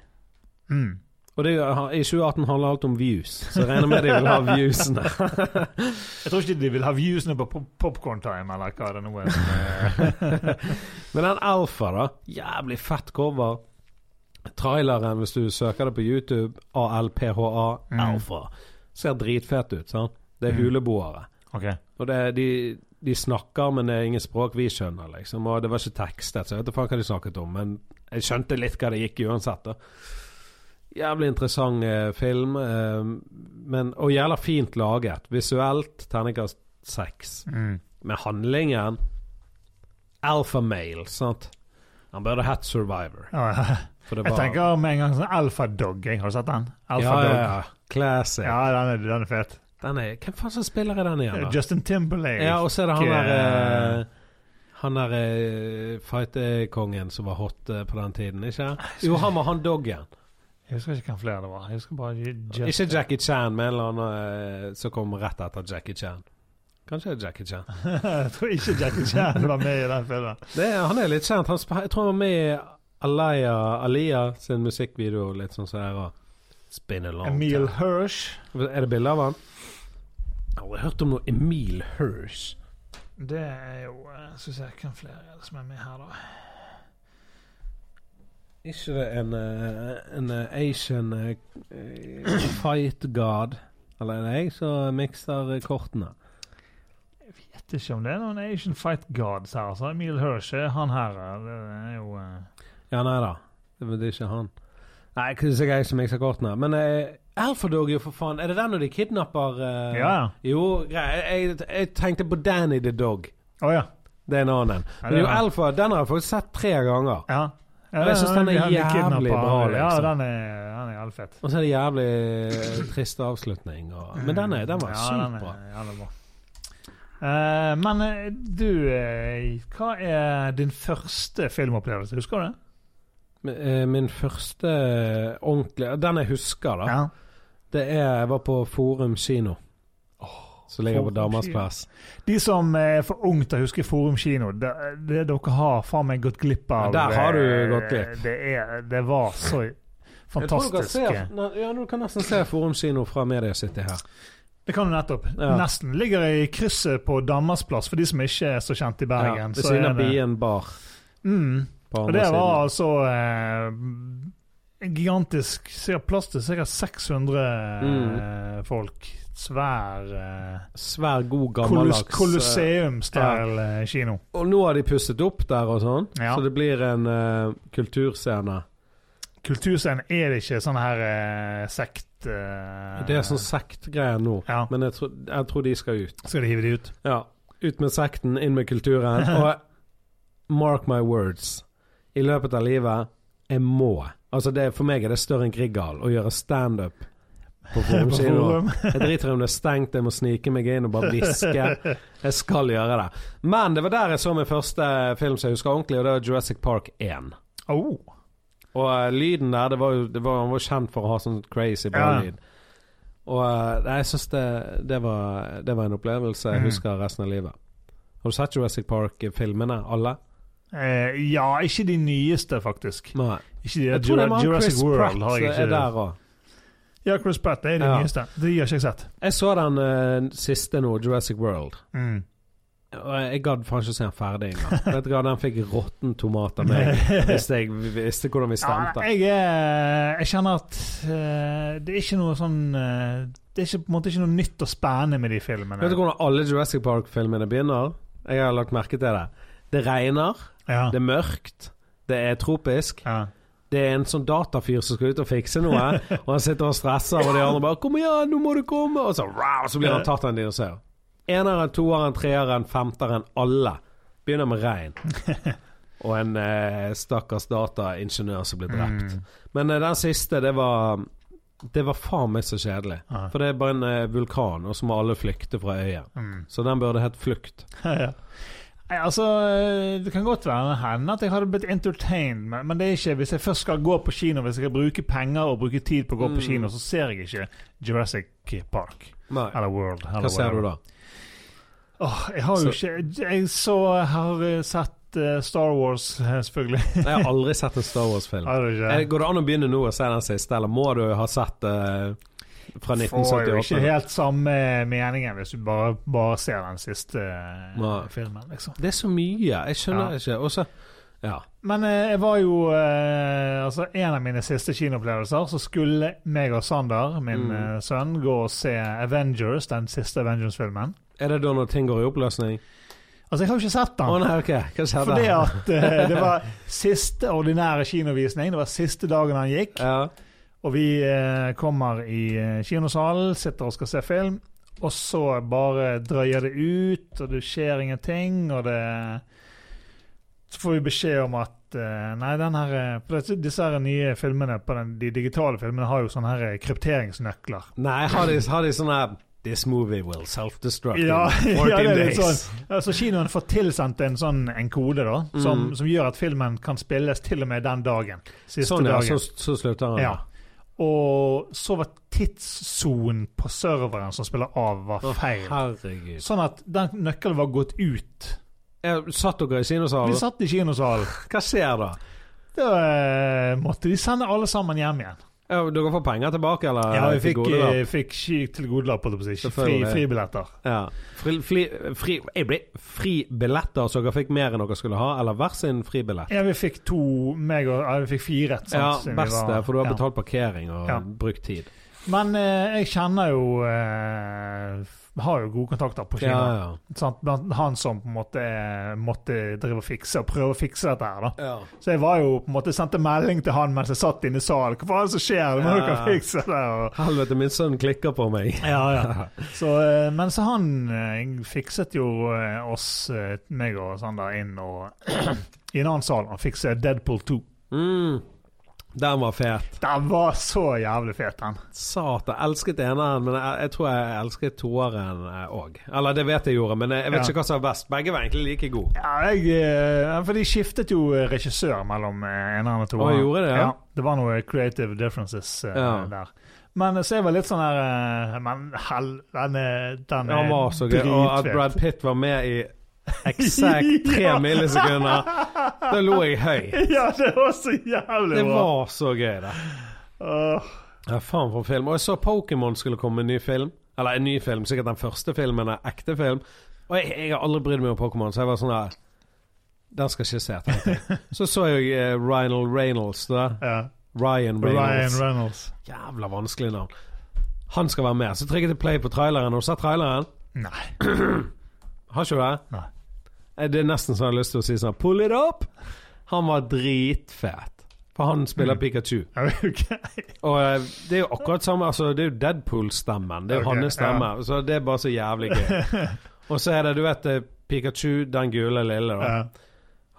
Mm.
Og det, er jo- I 2018 handler alt om views, så jeg regner med de vil ha viewsene.
Jeg tror ikke de vil ha viewsene på pop Popcorn Time, eller hva det nå er. eh,
*laughs* Men den Alfa, da. Jævlig fett cover. Traileren, hvis du søker det på YouTube, ALPHA
Mm.
Alfa, ser dritfett ut. sant? Det er
Mm.
huleboere.
*laughs* Ok.
Og det, er- de, de snakker, men det er ingen språk vi skjønner, liksom. Og det var ikke tekstet, så jeg vet ikke faen hva de snakket om, men jeg skjønte litt hva det gikk i uansett, da. Jævlig interessant eh, film, eh, men, og jævla fint laget. Visuelt terningkast seks.
Mm.
Men handlingen Alpha male, sant? Han burde hett Survivor.
Ja, ja.
For det
Jeg
var
tenker med en gang sånn Alpha Dog. Jeg. Har du sett den? Alpha
ja, ja,
Dog.
ja. Classic.
Ja, den er, den er fet.
Den er, hvem faen som spiller i den igjen? da?
Justin Timberlake.
Ja, og så er det han
ikke-
der eh, Han der eh, fighterkongen som var hot eh, på den tiden, ikke? Jo, han var han doggen.
Jeg husker ikke hvem flere det var. Jeg husker bare Justin.
Ikke Jackie Chan, men en eller annen eh, som kom rett etter Jackie Chan. Kanskje det er Jackie Chan.
*laughs* jeg tror ikke Jackie Chan var med i den filmen.
Det er, han er litt kjent. Han, sp- jeg tror han var med i Alaya, Alia sin musikkvideo. Litt sånn som her. og Spin along.
Emil Hirsch.
Er det bilde av han? Jeg har aldri hørt om noe Emil Hirsch.
Det er jo eh, Skal vi se hvem flere er det som er med her, da.
Ikke det en, eh, en eh, Asian eh, eh, fight god? Eller er det jeg som mikser eh, kortene?
Jeg vet ikke om det er noen Asian Fight Gods her. altså. Emil Hirsch er han her. eh, Det er jo eh,
Ja, nei da. Det men det er ikke han. Nei, det er ikke jeg som mikser kortene. Men eh, Alphadog, jo, for faen. Er det den når de kidnapper eh,
Ja, ja.
Jo, grei- jeg, jeg tenkte på Danny the Dog.
Å ja.
Det er en annen en.
Ja, det
Men jo,
er han.
Alfa, den har jeg faktisk sett tre ganger.
ja. Ja,
Jeg
det-
synes den er
han blir
jævlig
kidnappet.
bra,
Ja,
liksom.
den er, den er jævlig fet.
Og så er det jævlig eh, trist avslutning. Og, men den, er, den var
Mm. ja, den
sykt
er
bra.
jævlig bra. Eh, men eh, du, eh, hva er din første filmopplevelse? Husker du det?
Men, eh, Min første eh, ordentlige Den jeg husker, da,
Ja.
det er Jeg var på Forum kino. som ligger på
Forum
Damas
kino.
plass.
De som eh, er for ungt til å huske Forum kino, det, det dere har faen meg gått glipp av
Ja, der har du
eh,
gått glipp.
Det, er, det var så fantastisk
Jeg tror du kan se, ne- ja, du kan nesten se Forum kino fra Media City her.
Det kan du nettopp.
Ja.
Nesten ligger i krysset på Danmarksplass, for de som ikke er så kjent i
ja,
Bergen.
ved
så
siden
er
av
det-
Bien bar.
Mm.
På
Og
andre
det var
siden.
altså eh, en gigantisk sikkert Plass til sikkert 600
Mm.
eh, folk. Svær eh,
Svær, god,
kolos
gammeldags eh,
Colosseum-style eh, kino.
Og nå har de pusset opp der og sånn,
Ja.
så det blir en eh, kulturscene.
Kulturscenen er det ikke sånn her eh, sekt... eh,
Det er sånn sektgreier nå,
Ja,
men jeg, tror- jeg tror de skal ut.
skal de hive de ut?
Ja. Ut med sekten, inn med
*laughs*
kulturen. Og mark my words, i løpet av livet jeg må Altså det, For meg er det større enn Grieghallen å gjøre standup på
*laughs*
Forum
På
kino.
forum.
Jeg driter i om det er stengt, jeg må snike meg inn og bare hviske. Jeg skal gjøre det. Men det var der jeg så min første film som jeg husker ordentlig, og det var Jurassic Park 1.
Oh.
Og eh, lyden der, det var jo det var, han var kjent for å ha sånn crazy bra
Ja.
lyd. Og eh, nei, jeg syns det, det, var, det var en opplevelse jeg
Mm.
husker resten av livet. Har du sett Jurassic Park-filmene? Alle?
Eh, ja, ikke de nyeste, faktisk.
Nei.
Ikke de,
Jeg tror det
Jura-
var han
Jurassic
Chris
World
Pratt
har jeg
som
ikke
er der òg.
Ja, Chris Pratt det er de
Ja.
nyeste. De har ikke jeg sett.
Jeg så den eh, siste nå, Jurassic World.
Mm.
Og Jeg gadd faen ikke å se den ferdig engang.
*laughs*
Vet du hva, Den fikk råtten tomat av meg hvis jeg visste hvordan vi stemte.
jeg, er, jeg kjenner at eh, det er ikke noe sånn eh, Det er ikke, på en måte ikke noe nytt og spennende med de filmene.
Vet du hvordan alle Jurassic Park-filmene begynner? Jeg har lagt merke til det. Det regner,
Ja.
det er mørkt, det er tropisk.
Ja.
Det er en sånn datafyr som skal ut og fikse noe, og han sitter og stresser, og de andre bare 'Kom igjen, nå må du komme!' Og så, wow, så blir han tatt av en dinosaur. Eneren, toeren, treeren, femteren, alle begynner med regn. Og en eh, stakkars dataingeniør som blir
Mm.
drept. Men eh, den siste, det var Det var faen meg så kjedelig.
Ja.
For det er bare en eh, vulkan, og så må alle flykte fra øya.
Mm.
Så den burde hett Flukt.
ja. Nei, altså, eh, Det kan godt være hende at jeg hadde blitt entertained, men, men det er ikke, hvis jeg først skal gå på kino, hvis jeg skal bruke penger og bruke tid på å gå
Mm.
på kino, så ser jeg ikke Jurassic Park
Nei.
eller World. Eller
Hva ser
whatever.
du da?
Åh, jeg har jo ikke Jeg så, har eh, sett eh, Star Wars, eh,
*laughs*
selvfølgelig.
Jeg har aldri sett en Star
*laughs*
Wars-film.
Har du ikke?
Eh, Går det an å begynne nå og se den siste, eller må du ha sett eh, fra
Får jo ikke
1978?
helt samme meningen hvis du bare, bare ser den siste eh,
Nei.
filmen, liksom.
Det er så mye, jeg skjønner ikke. Og så Ja.
Men eh, jeg var jo eh, Altså, en av mine siste kinoopplevelser, så skulle meg og Sander, min
Mm.
eh, sønn, gå og se Avengers, den siste Avengers-filmen.
Er det da når ting går i oppløsning?
Altså, jeg har jo ikke sett
Å
den.
nei, ok, hva skjedde?
fordi at eh, det var siste ordinære kinovisning. Det var siste dagen han gikk.
ja.
Og vi eh, kommer i eh, kinosalen, sitter og skal se film, og så bare drøyer det ut, og det skjer ingenting, og det Så får vi beskjed om at eh, Nei, den her eh, For disse, disse her nye filmene, på den, de digitale filmene, har jo sånne her eh, krypteringsnøkler.
Nei, har de, har de sånn her This movie will self-destruct in
*laughs* Ja,
14
ja, det er litt sånn.
days.
Ja, Så kinoen får tilsendt en sånn en kode, da, som,
Mm.
som gjør at filmen kan spilles til og med den dagen. Siste
Sånn, ja.
dagen.
Så, sånn, så slutter han.
Ja. Og så var tidssonen på serveren som spiller av, var
Å,
feil.
Herregud.
Sånn at den nøkkelen var gått ut.
Jeg satt dere i
Vi
kinosalen?
satt i
*laughs*
kinosalen.
Hva skjer da?
Da eh, måtte de sende alle sammen hjem igjen.
Ja, dere får penger tilbake, eller?
Ja, vi
til
fikk,
gode, da?
eh, fikk ski- tilgodelapp, holdt jeg på å si. Fri,
Selvfølgelig.
fribilletter.
ja. fri, fri, fri, jeg ble fri billetter, så dere fikk mer enn dere skulle ha, eller hver sin fribillett?
Ja, vi fikk to meg og ja, Vi fikk fire, sant?
Ja,
siden Sånn vi
best det,
var-
for du har
ja.
betalt parkering og
Ja.
brukt tid.
Men eh, jeg kjenner jo eh, Har jo gode kontakter på
Ja,
kinoen.
ja.
Sant? Blant han som på en måte eh, måtte drive og fikse og prøve å fikse dette her. da.
ja.
Så jeg var jo på en måte sendte melding til han mens jeg satt inne i salen. Hva faen er det som skjer? Det må
Ja.
dere fikse det. Og,
Helvete, min sønn klikker på *laughs* meg.
ja, ja. Så, eh, men så han eh, fikset jo eh, oss, eh, meg og Sander, inn og *clears throat* i en annen sal og fikse Deadpool 2.
Mm. Den var fet.
Den var så jævlig fet, den.
Satan. Jeg elsket eneren, men jeg, jeg tror jeg elsket toeren òg. Eller det vet jeg gjorde, men jeg, jeg vet
Ja.
ikke hva som var best. Begge var egentlig like gode.
Ja, jeg, eh, for de skiftet jo regissør mellom eh, eneren og toeren.
Å, gjorde det, ja?
Det var noe creative differences eh,
Ja.
der. Men så jeg var litt sånn her eh, Men hell, den er, den
Han
er
var så gøy. Og at
dritfet.
Brad Pitt var med i
*laughs*
eksakt tre
Ja.
millisekunder, da lo jeg høy.
Ja, det var så jævlig
Det
bra.
var så gøy, det.
Åh,
Ja, faen for film. Og jeg så Pokémon skulle komme med en ny film. Eller en ny film, sikkert den første filmen er ekte film. Og jeg, jeg har aldri brydd meg om Pokémon, så jeg var sånn her Den skal jeg ikke se, tenkte jeg. Så så jeg eh, Ryan Reynolds, da.
ja.
Ryan Reynolds.
Ryan Reynolds.
Jævla vanskelig navn. Han skal være med. Så trykket jeg play på traileren. Har du sett traileren?
Nei.
Har ikke du det?
Nei.
Eh, Det er nesten så jeg har lyst til å si sånn Pull it up! Han var dritfet. For han spiller
Mm.
Pikachu.
Ok.
Og eh, det er jo akkurat samme altså, Det er jo Deadpool-stemmen. Det er jo
Ok,
hans stemme. Så det er bare så jævlig gøy.
*laughs*
Og så er det, du vet eh, Pikachu, den gule lille, da.
Ja.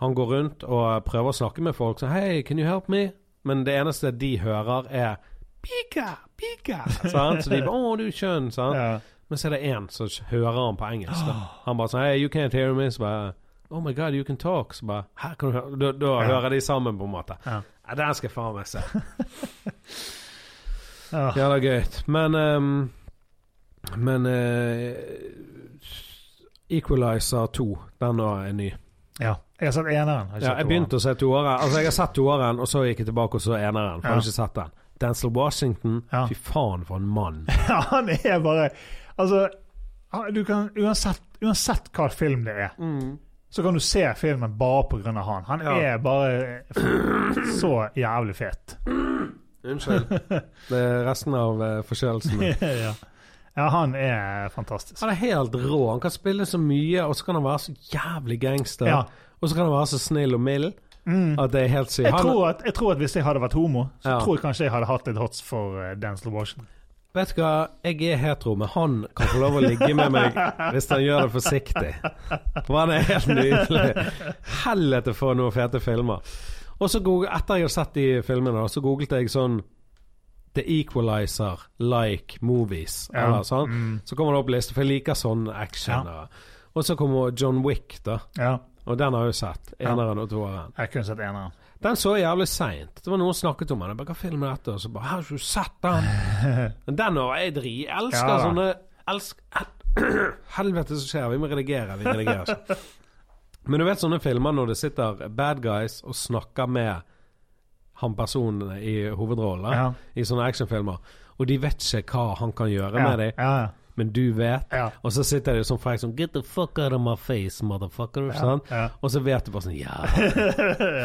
Han går rundt og prøver å snakke med folk sånn Hei, can you help me? Men det eneste de hører, er Pika, pika. Sant? Så de bare Å, du er skjønn. Sant?
Ja.
Men så er det én som hører han på
*gasps*
engelsk. Da. Han bare sånn Hey, you can't hear me. Så bare Oh my God, you can talk. Så bare Her kan du høre Da, da
Ja.
hører de sammen, på en måte.
Ja.
Ja, den skal jeg faen meg se.
Åh,
Ja, det er gøy. Men ehm, Men eh, Equalizer 2, den nå er ny.
ja. Jeg har sett eneren. har ikke
Ja,
sett
jeg
toeren.
begynte å se toeren. Altså, jeg har sett toeren, og så gikk jeg tilbake og så eneren. For jeg
Ja.
har ikke sett den. Denzil Washington.
Ja.
Fy faen, for en mann.
*laughs* Ja, han er bare Altså, han- du kan, uansett, uansett hva film det er,
Mm.
så kan du se filmen bare pga. han. Han
Ja.
er bare *clears throat* så jævlig
*laughs*
fet. *laughs*
Unnskyld. Det er resten av uh, forkjølelsen min.
ja. ja, han er fantastisk.
Han er helt rå. Han kan spille så mye, og så kan han være så jævlig gangster.
Ja.
Og så kan han være så snill og mild
Mm.
at det er helt sykt.
Jeg,
Han,
tror at, jeg tror at hvis jeg hadde vært homo, så
Ja.
tror jeg kanskje jeg hadde hatt litt hots for eh, Denzel Washington.
vet du hva, jeg er hetero, men han kan få lov å ligge med meg hvis han gjør det forsiktig. For han er helt nydelig. Helvete for noen fete filmer. Og så googlet, etter jeg har sett de filmene, så googlet jeg sånn The Equalizer like movies.
Ja.
Eller sånn.
Mm.
Så kommer det opp liste, for jeg liker sånn action. Og, og så kommer John Wick, da.
Ja,
Og den har jeg jo sett. Eneren og toeren.
jeg kunne sett eneren.
Den så jævlig seint. Det var noen som snakket om den. Jeg bare, Hva filmen er dette? Og så bare Har ikke du sett
*laughs*
den? Men den òg. Jeg dri. Jeg elsker
Ja da.
sånne elsk, *clears throat* hel, Helvete som skjer. Vi må redigere. Vi redigerer ikke.
*laughs*
Men du vet sånne filmer når det sitter bad guys og snakker med han personen i hovedrollen
Ja.
i sånne actionfilmer, og de vet ikke hva han kan gjøre
Ja,
med dem,
ja, ja.
men du vet.
Ja.
Og så sitter de sånn frekk sånn Get the fuck out of my face, motherfucker. Sånn.
ja.
Og så vet du bare sånn
*laughs*
Ja,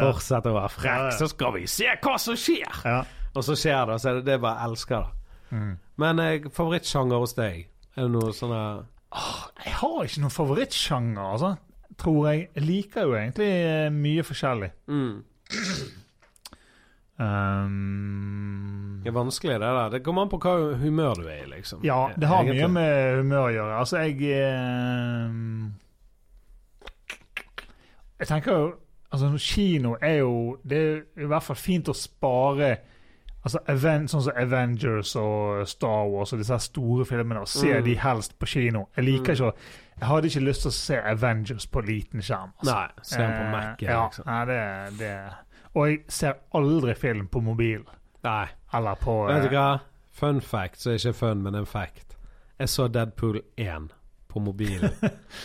fortsett å være frekk,
Ja, ja.
så skal vi se hva som skjer!
ja.
Og så skjer det, og så er det det jeg bare elsker det.
Mm.
Men eh, favorittsjanger hos deg? Er det noe sånn eh,
Jeg har ikke noen favorittsjanger, altså. Tror jeg. Jeg liker jo egentlig eh, mye forskjellig. Um,
Det er vanskelig, det der. Det kommer an på hva humør du er i, liksom.
ja, det har
Egentlig.
mye med humør å gjøre. Altså, jeg eh, Jeg tenker jo Altså, kino er jo Det er i hvert fall fint å spare Altså, even, Sånn som Avengers og Star Wars og disse her store filmene, og se
Mm.
de helst på kino. Jeg liker ikke å Jeg hadde ikke lyst til å se Avengers på liten skjerm. altså.
Nei, se den på
Eh,
Mac-en,
ja,
liksom.
Nei, det, det. Og jeg ser aldri film på mobil.
Nei.
Eller på
Vet du
eh,
hva? Fun fact, så er ikke fun, men en fact. Jeg så Deadpool 1 på
*laughs*
mobilen.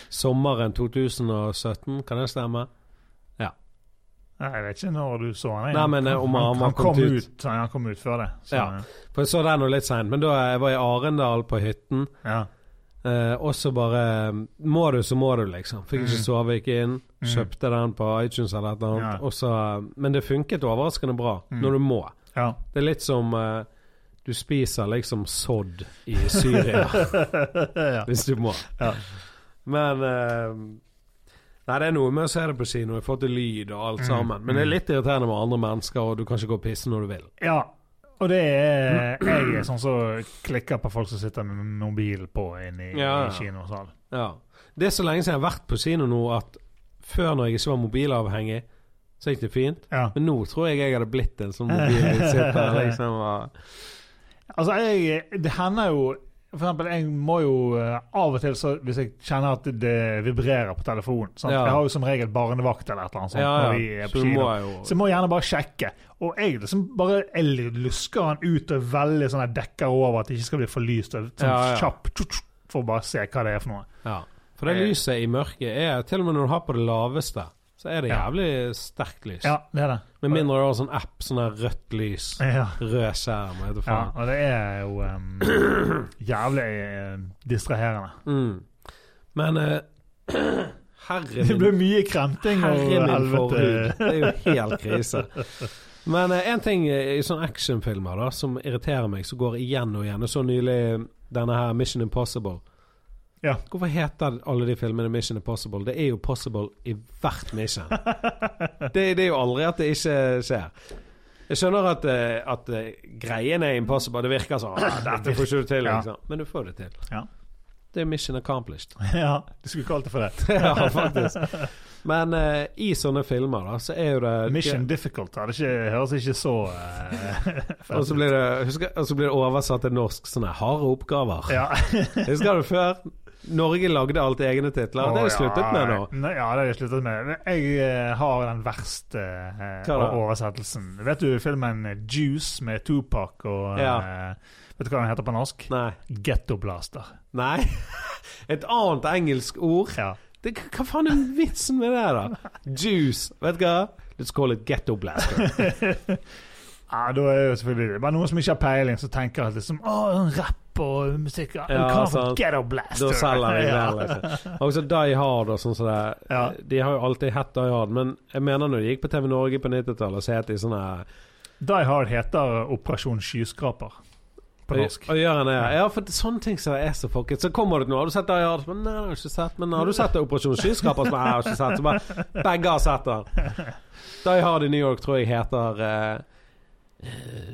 Sommeren 2017, kan det stemme?
nei, Jeg vet ikke når du så den. jeg.
Nei, men, eh, om han var
han kom
kommet
ut.
ut.
nei, han kom ut før det. Så,
Ja. For jeg så den jo litt seint, men da jeg var i Arendal på hytten.
ja.
Eh, og så bare eh, Må du, så må du, liksom. Fikk ikke
Mm.
sove, gikk inn.
Mm.
Kjøpte den på iTunes eller et eller annet.
Ja.
Og så, men det funket overraskende bra
Mm.
når du må.
ja. *laughs*
Det er litt som eh, du spiser liksom sodd i
*laughs*
Syria
ja.
*laughs* hvis du må.
Ja.
Men eh, Nei, det er noe med å se det på kino i forhold til lyd og alt
Mm.
sammen. Men det er litt irriterende med andre mennesker, og du kan ikke gå og pisse når du vil.
ja. Og det er Jeg er sånn som klikker på folk som sitter med mobil på inne i,
Ja, ja.
i kinosalen.
Ja. Det er så lenge siden jeg har vært på kino nå at før, når jeg ikke var mobilavhengig, så gikk det fint.
Ja.
Men nå tror jeg jeg hadde blitt en sånn mobilsitter.
*laughs*
liksom, og-
Altså, jeg, det hender jo For eksempel, jeg må jo eh, av og til, så, hvis jeg kjenner at det vibrerer på telefonen sant?
Ja.
Jeg har jo som regel barnevakt eller et eller annet sånt.
Ja,
Sånn når vi
ja. Så
er på
du
kino.
må jo
Så jeg må gjerne bare sjekke. Og jeg liksom bare jeg lusker han ut og veldig sånn jeg dekker over at det ikke skal bli for lyst. og Sånn
Ja, ja.
kjapp tju, tju, for å bare se hva det er for noe. Eh.
ja. For det lyset i mørket er Til og med når du har på det laveste, så så er det
Ja.
jævlig sterkt lys.
Ja, det er det.
Med mindre du har sånn app, sånn der rødt lys,
Ja.
rød skjerm, vet du
ja,
faen.
og det er jo
*clears throat*
em, jævlig eh, distraherende.
Mm. Men eh, *clears throat* herre
Det
min
ble mye kremting og
Herre min forhud.
helvete.
Det er jo helt krise. Men eh, en ting eh, i sånne actionfilmer da som irriterer meg, som går igjen og igjen Jeg så nylig denne her Mission Impossible.
Ja.
Hvorfor heter alle de filmene Mission Impossible? Det er jo possible i hvert
*laughs*
mission. Det, det er jo aldri at det ikke skjer. Jeg skjønner at, eh, at eh, greien er impossible. Det virker sånn. «Ah, Dette får ikke du til,
Ja.
liksom. Men du får det til.
Ja.
Det er mission accomplished
*laughs* Ja, du skulle kalt det for det.
*laughs* ja, faktisk. Men eh, i sånne filmer, da, så er jo det
Mission difficult. ja, Det er ikke, høres ikke så eh, *laughs*
Og så blir det, husker, og så blir det oversatt til norsk sånne harde
*laughs*
oppgaver.
Ja.
Husker du før? Norge lagde alt egne titler. det har de sluttet med nå.
Nei, ja, det har jeg sluttet med. Jeg eh, har den verste eh,
Hva da?
oversettelsen. Vet du filmen Juice med Tupac og eh,
Ja.
Vet du hva den heter på norsk?
Nei.
Gettoblaster.
Nei. *laughs* Et annet engelsk ord.
Ja.
Det, hva faen er vitsen med det, da? Juice. Vet du hva? Let's call it ghetto blaster.
*laughs* ja, da er jo selvfølgelig det bare noen som ikke har peiling, som tenker at liksom Å, en rapp og musikk ja,
Ja,
Hva for
sant.
gettoblaster?
Da selger vi
*laughs* Ja.
den. Liksom. Og så Die Hard og sånn som det.
Ja.
De har jo alltid hett Die Hard, men jeg mener når de gikk på TV Norge på 90-tallet, så het de sånn her
Die Hard heter Operasjon skyskraper på norsk.
Og gjør han det? Ja, for sånne ting som er så fucket. Så kommer det til noe. Har du sett det? Ja, men nei, det har jeg ikke sett. Men har du sett det? Operasjon Skyskraper? Så Nei, jeg har ikke sett. Så bare begge har sett den. Die Hard i New York tror jeg heter eh, eh,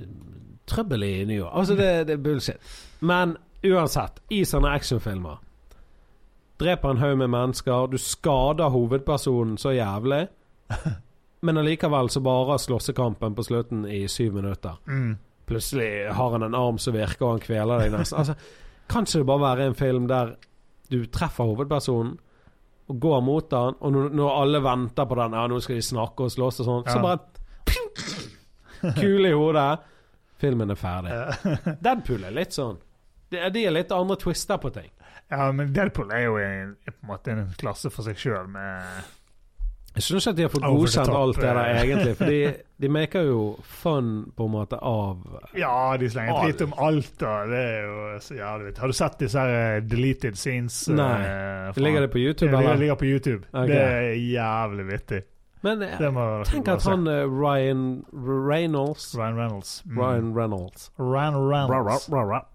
Trøbbel i New York. Altså, det, det er bullshit. Men uansett, i sånne actionfilmer Dreper en haug med mennesker, du skader hovedpersonen så jævlig. Men allikevel så varer slåssekampen på slutten i syv minutter
Mm.
plutselig har han en arm som virker, og han kveler deg nesten. Altså, kan ikke det bare være en film der du treffer hovedpersonen, og går mot han, og når, når alle venter på den, ja, nå skal de snakke og slåss og sånn, så
Ja.
bare ping! Kule i hodet. Filmen er ferdig.
Eh,
Deadpool er litt sånn. De, de er litt andre twister på ting.
ja, men Deadpool er jo en, er på en måte en klasse for seg sjøl, med
Jeg synes ikke at de har fått
Over the
godkjent
top. eh.
alt det der, egentlig.
*laughs*
For de, de maker jo fun på en måte av
Ja, de slenger
Alt.
drit om alt, da. Det er jo så jævlig Har du sett disse her eh, deleted scenes? eh,
Nei.
fra-
Ligger det på YouTube,
Det ligger-
eller?
ligger på YouTube.
Ok.
Det er jævlig vittig.
Men eh,
Det må
tenk
må
at
se.
han eh, Ryan Reynolds
Ryan Reynolds. Mm.
Ryan Reynolds.
Ryan Reynolds.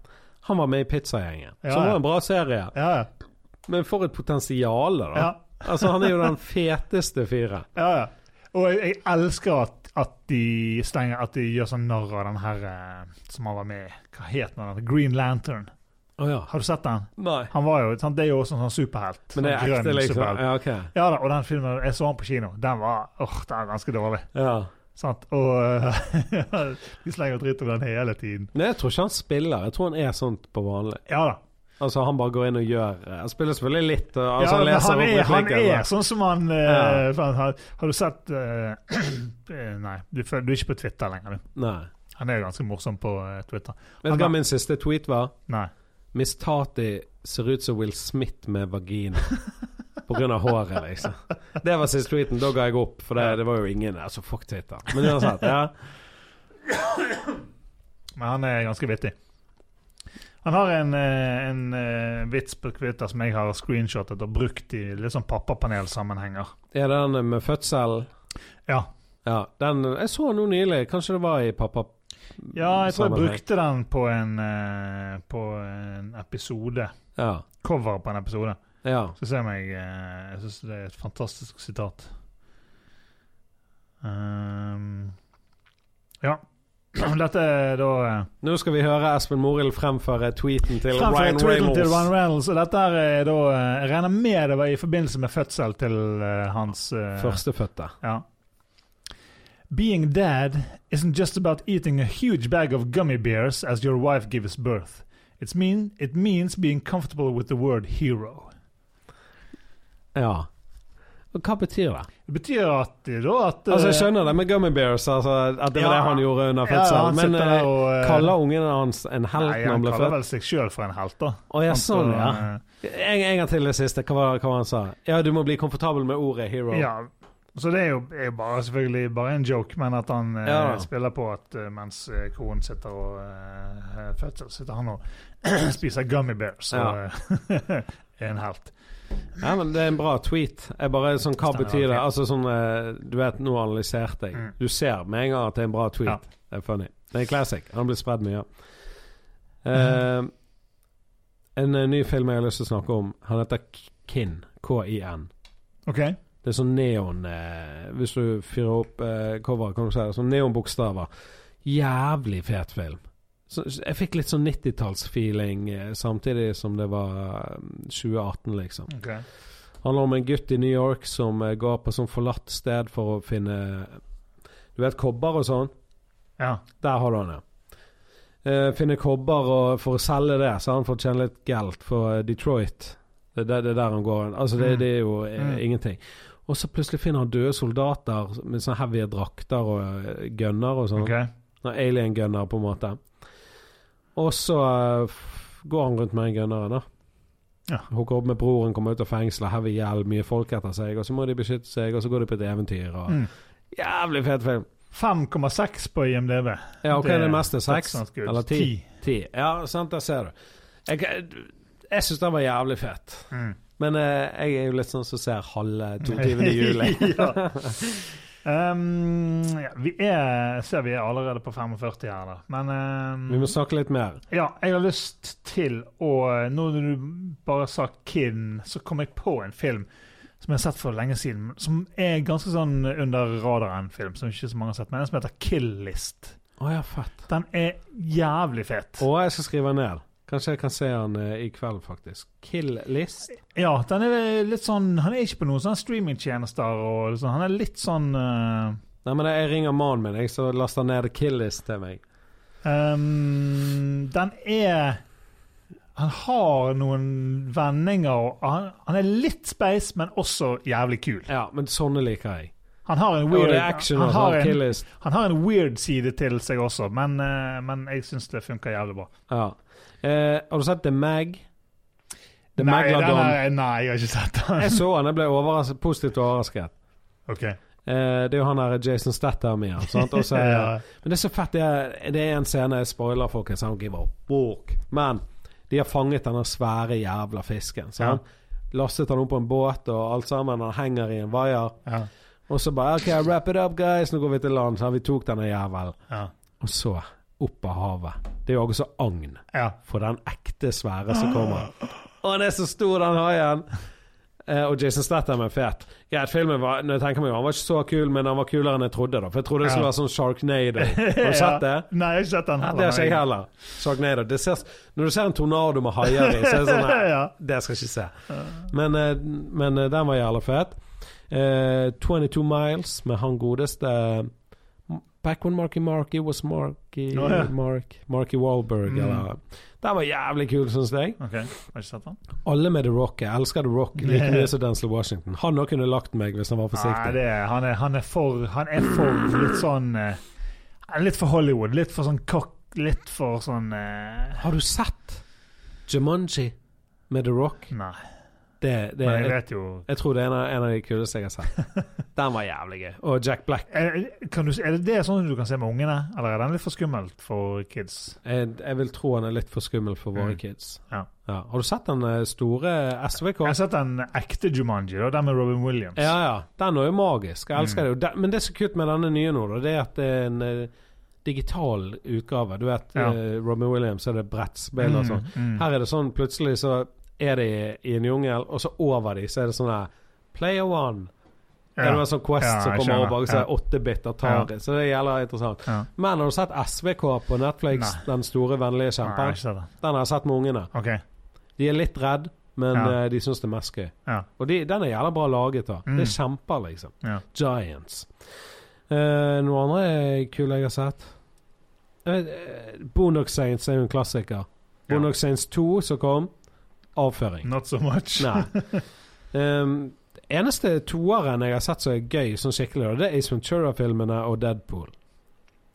Han var med i Pizzagjengen,
Ja,
som
ja.
var en bra serie.
Ja, ja.
Men for et potensial, da.
ja.
*laughs* Altså, han er jo den feteste fyren.
Ja, ja. Og jeg, jeg elsker at, at, de stenger, at de gjør sånn narr av den her eh, som han var med i. Hva het han? Green Lantern.
Å ja.
Har du sett den?
Nei.
Han var jo, sant? Det er jo også en sånn superhelt.
Men det er
sånn grønn
ekte, liksom.
superhelt.
Ja, ok.
Ja. da, og den filmen, jeg så han på kino. Den var åh, den er ganske dårlig.
Ja.
Sant? Og eh, *laughs* de slenger dritt om den hele tiden.
Men jeg tror ikke han spiller. Jeg tror han er sånn på vanlig.
Ja da.
Altså, han bare går inn og gjør eh, Han spiller selvfølgelig litt. eh, Altså,
ja,
han
men
leser
han, er,
opp
han
replikker.
er sånn som han eh,
Ja.
faen, har, har du sett eh, *clears throat* eh, Nei, du, føl- du er ikke på Twitter lenger, du.
Nei.
Han er jo ganske morsom på eh, Twitter.
Vet du hva min siste tweet var?
Nei.
Miss Tati ser ut som Will Smith med vagina. På grunn av håret, liksom. Det var siste tweeten. Da ga jeg opp, for det, det var jo ingen Altså, fuck Twitter. Men uansett, ja.
Men han er ganske vittig. Han har en, eh, en eh, vits på Twitter som jeg har screenshotet og brukt i litt sånn pappapanelsammenhenger.
Er det den med fødsel?
Ja.
Ja, den Jeg så den nå nylig. Kanskje det var i pappa...
ja, jeg tror jeg
sammenheng.
brukte den på en, eh, på en episode.
Ja.
Cover på en episode.
ja.
Så ser jeg meg eh, Jeg syns det er et fantastisk sitat. Ehm, ja. *clears throat* Dette er da eh,
Nå skal vi høre Espen Morild fremføre tweeten til
Fremfor
Ryan
tweeten
Reynolds.
Til Ryan Reynolds. Og dette her er da eh, Jeg regner med det var i forbindelse med fødsel til eh, hans eh,
Førstefødte.
Ja. Being dad isn't just about eating a huge bag of gummy bears as your wife gives birth. It's mean, it means being comfortable with the word hero.
Ja. Og hva betyr det?
Det betyr at det da at
Altså,
eh,
jeg skjønner det med Gummy Bears, altså, at det var
Ja.
det han gjorde under
ja,
fødsel,
han
men
sitter der
eh,
og, eh,
kaller ungen hans en helt
Nei,
når han
han
ble
kaller
født?
vel seg sjøl for en helt, da. eh,
Å ja,
Sant,
sånn,
og,
ja. En, en gang til det siste. Hva var, hva var han sa? Ja, du må bli komfortabel med ordet hero.
eh, Ja, Så det er jo, er jo bare, selvfølgelig bare en joke, men at han eh,
Ja.
spiller på at eh, mens eh, konen sitter og eh, fødsel, sitter han og *clears throat* spiser gummy bears. Og, eh, *laughs* er en helt.
Ja, men Det er en bra tweet. Jeg bare sånn, Hva
Stemmer,
betyr det?
ok.
Altså sånn eh, Du vet, nå analyserte jeg.
Mm.
Du ser med en gang at det er en bra tweet. Det er funny. Det er en classic. Han blir spredd mye.
Mm.
Eh, en eh, ny film jeg har lyst til å snakke om, han heter K- Kin. K-I-N.
OK.
Det er sånn neon eh, Hvis du fyrer opp eh, coveret, kan du se det. Sånn neonbokstaver. Jævlig fet film. Så, så jeg fikk litt sånn 90-tallsfeeling eh, samtidig som det var eh, 2018, liksom.
ok.
Handler om en gutt i New York som eh, går på sånn forlatt sted for å finne Du vet kobber og sånn?
Ja.
Der har du han, ja. Eh, finne kobber og for å selge det, så har han fått tjene litt gelt for eh, Detroit. Det er der, det er der han går. Altså, det,
Mm.
det er jo eh,
Mm.
ingenting. Og så plutselig finner han døde soldater med sånne heavy drakter og eh, gunner og sånn.
OK.
Sånn alien gunner, på en måte. Og så eh, f- går han rundt med en gunner, da.
Ja.
Hooker opp med broren, kommer ut av fengselet, heavy hjelm, mye folk etter seg, og så må de beskytte seg, og så går de på et eventyr. Og...
Mm.
Jævlig fet film!
5,6 på IMDb.
Ja, OK, det, meste
that's
seks?
not good.
Eller ti? Ti. Ja, sant, der ser du. Jeg, jeg syns den var jævlig fett.
Mm.
Men eh, jeg er jo litt sånn som ser halve 22. juli.
*laughs*
*laughs*
ja. Um, ja, vi er, ser vi er allerede på 45 her, da. Men um,
Vi må snakke litt mer.
Ja, jeg har lyst til å Nå når du bare sa Kinn, så kom jeg på en film som jeg har sett for lenge siden, som er ganske sånn under radaren-film, som ikke så mange har sett, men en som heter Kill List.
Å ja, fett.
Den er jævlig fet.
Å, jeg skal skrive den ned. Kanskje jeg kan se den eh, i kveld, faktisk. Kill List.
Ja, den er litt sånn Han er ikke på noen sånne streamingtjenester, og sånn, han er litt sånn eh,
Nei, men jeg ringer mannen min, jeg, så laster han ned Kill List til meg.
eh, ehm, Den er Han har noen vendinger, og han, han er litt speis, men også jævlig kul.
Ja, men sånne liker jeg.
Han har en
Og
weird
det er action
han,
og sånn.
har en,
Kill List.
han har en weird side til seg også, men, eh, men jeg syns det funker jævlig bra.
Ja. Eh, har du sett The Mag? The
nei, den
Magladon.
er- nei, jeg har ikke sett den.
*laughs* Jeg så han, jeg ble overras positivt overrasket.
Ok.
Eh, det er jo han der Jason Statham igjen. Sant? Og
*laughs*
så er-
Ja.
Men det er så fett, det er, det er en scene jeg spoiler, folkens. Han give a walk. Men de har fanget denne svære jævla fisken. Så
Ja.
han lastet han opp på en båt og alt sammen. Han henger i en vaier.
Ja.
Og så bare OK, wrap it up, guys. Nå går vi til land. Så vi tok denne jævelen.
Ja.
Og så opp av havet. Det er jo også agn
ja.
for den ekte svære som kommer. Og han er så stor, den haien! Eh, og Jason Statham er fet. Greit, filmen var når jeg tenker meg, om, han var ikke så kul, men han var kulere enn jeg trodde. da For jeg trodde det skulle
Ja.
være sånn
*laughs*
Sharknado. Har du sett det?
Nei, jeg har ikke sett den.
Nei, det har ikke jeg heller. Sharknado. Det ser, når du ser en tornado med haier i, så er det sånn Nei,
*laughs* Ja.
det skal jeg ikke se. Men, eh, men eh, den var jævla fet. Eh, 22 Miles med han godeste Back when Marky Marky was Marky
Å, ja.
Mark, Marky Wahlberg,
Mm.
eller Den var jævlig kul, syns jeg.
Ok, jeg har ikke sett den.
Alle med The Rock. Jeg elsker The Rock like mye som Denzil Washington. Han òg kunne lagt meg hvis han var
Nei,
forsiktig.
det er, han, er, han, er for, han er for litt sånn eh, han er Litt for Hollywood. Litt for sånn kokk. Litt for sånn eh,
Har du sett Jumanji med The Rock?
Nei.
Det, det,
Men jeg
jeg,
vet jo
jeg tror det er en av, en av de kuleste jeg har sett.
*laughs*
Den var jævlig gøy. Og Jack Black.
Er, kan du, er det det sånn du kan se med ungene, eller er den litt for skummelt for kids?
Jeg, jeg vil tro han er litt for skummel for våre
Mm.
kids.
Ja.
Har du sett den eh, store SVK?
Jeg har sett den ekte Jumanji, da, den med Robin Williams.
Ja, ja. Den er jo magisk. Jeg
Mm.
elsker det. Og den- Men det som er så kult med denne nye nå, da, det er at det er en eh, digital utgave. Du vet,
Ja.
eh, Robin Williams er det brettspill og sånn.
Mm, mm.
Her er det sånn plutselig så er de i en jungel, og så over de så er det sånn her Player one. Det
Ja.
er en sånn Quest
Ja,
som
jeg
kommer
skjønner.
over, og så er
Ja.
åtte bit Atari. Så det gjelder interessant.
Ja.
Men har du sett SVK på Netflix,
Nei.
Den store vennlige
Nei, jeg har
kjempen?
ikke sett den.
Den har jeg sett med ungene.
Ok.
De er litt redd, men
Ja.
eh, de syns det er mest gøy.
Ja.
Og de, den er jævla bra laget. da.
Mm.
Det er kjemper, liksom.
Ja.
Giants. Eh, noe andre kule jeg har sett? Uh, Bonox Saints er jo en klassiker.
Ja.
Bonox Saints 2 som kom. Avføring.
Not so much. *laughs*
Nei. Um, eneste toeren jeg har sett som er gøy, sånn skikkelig, det er Ace Ventura-filmene og Deadpool.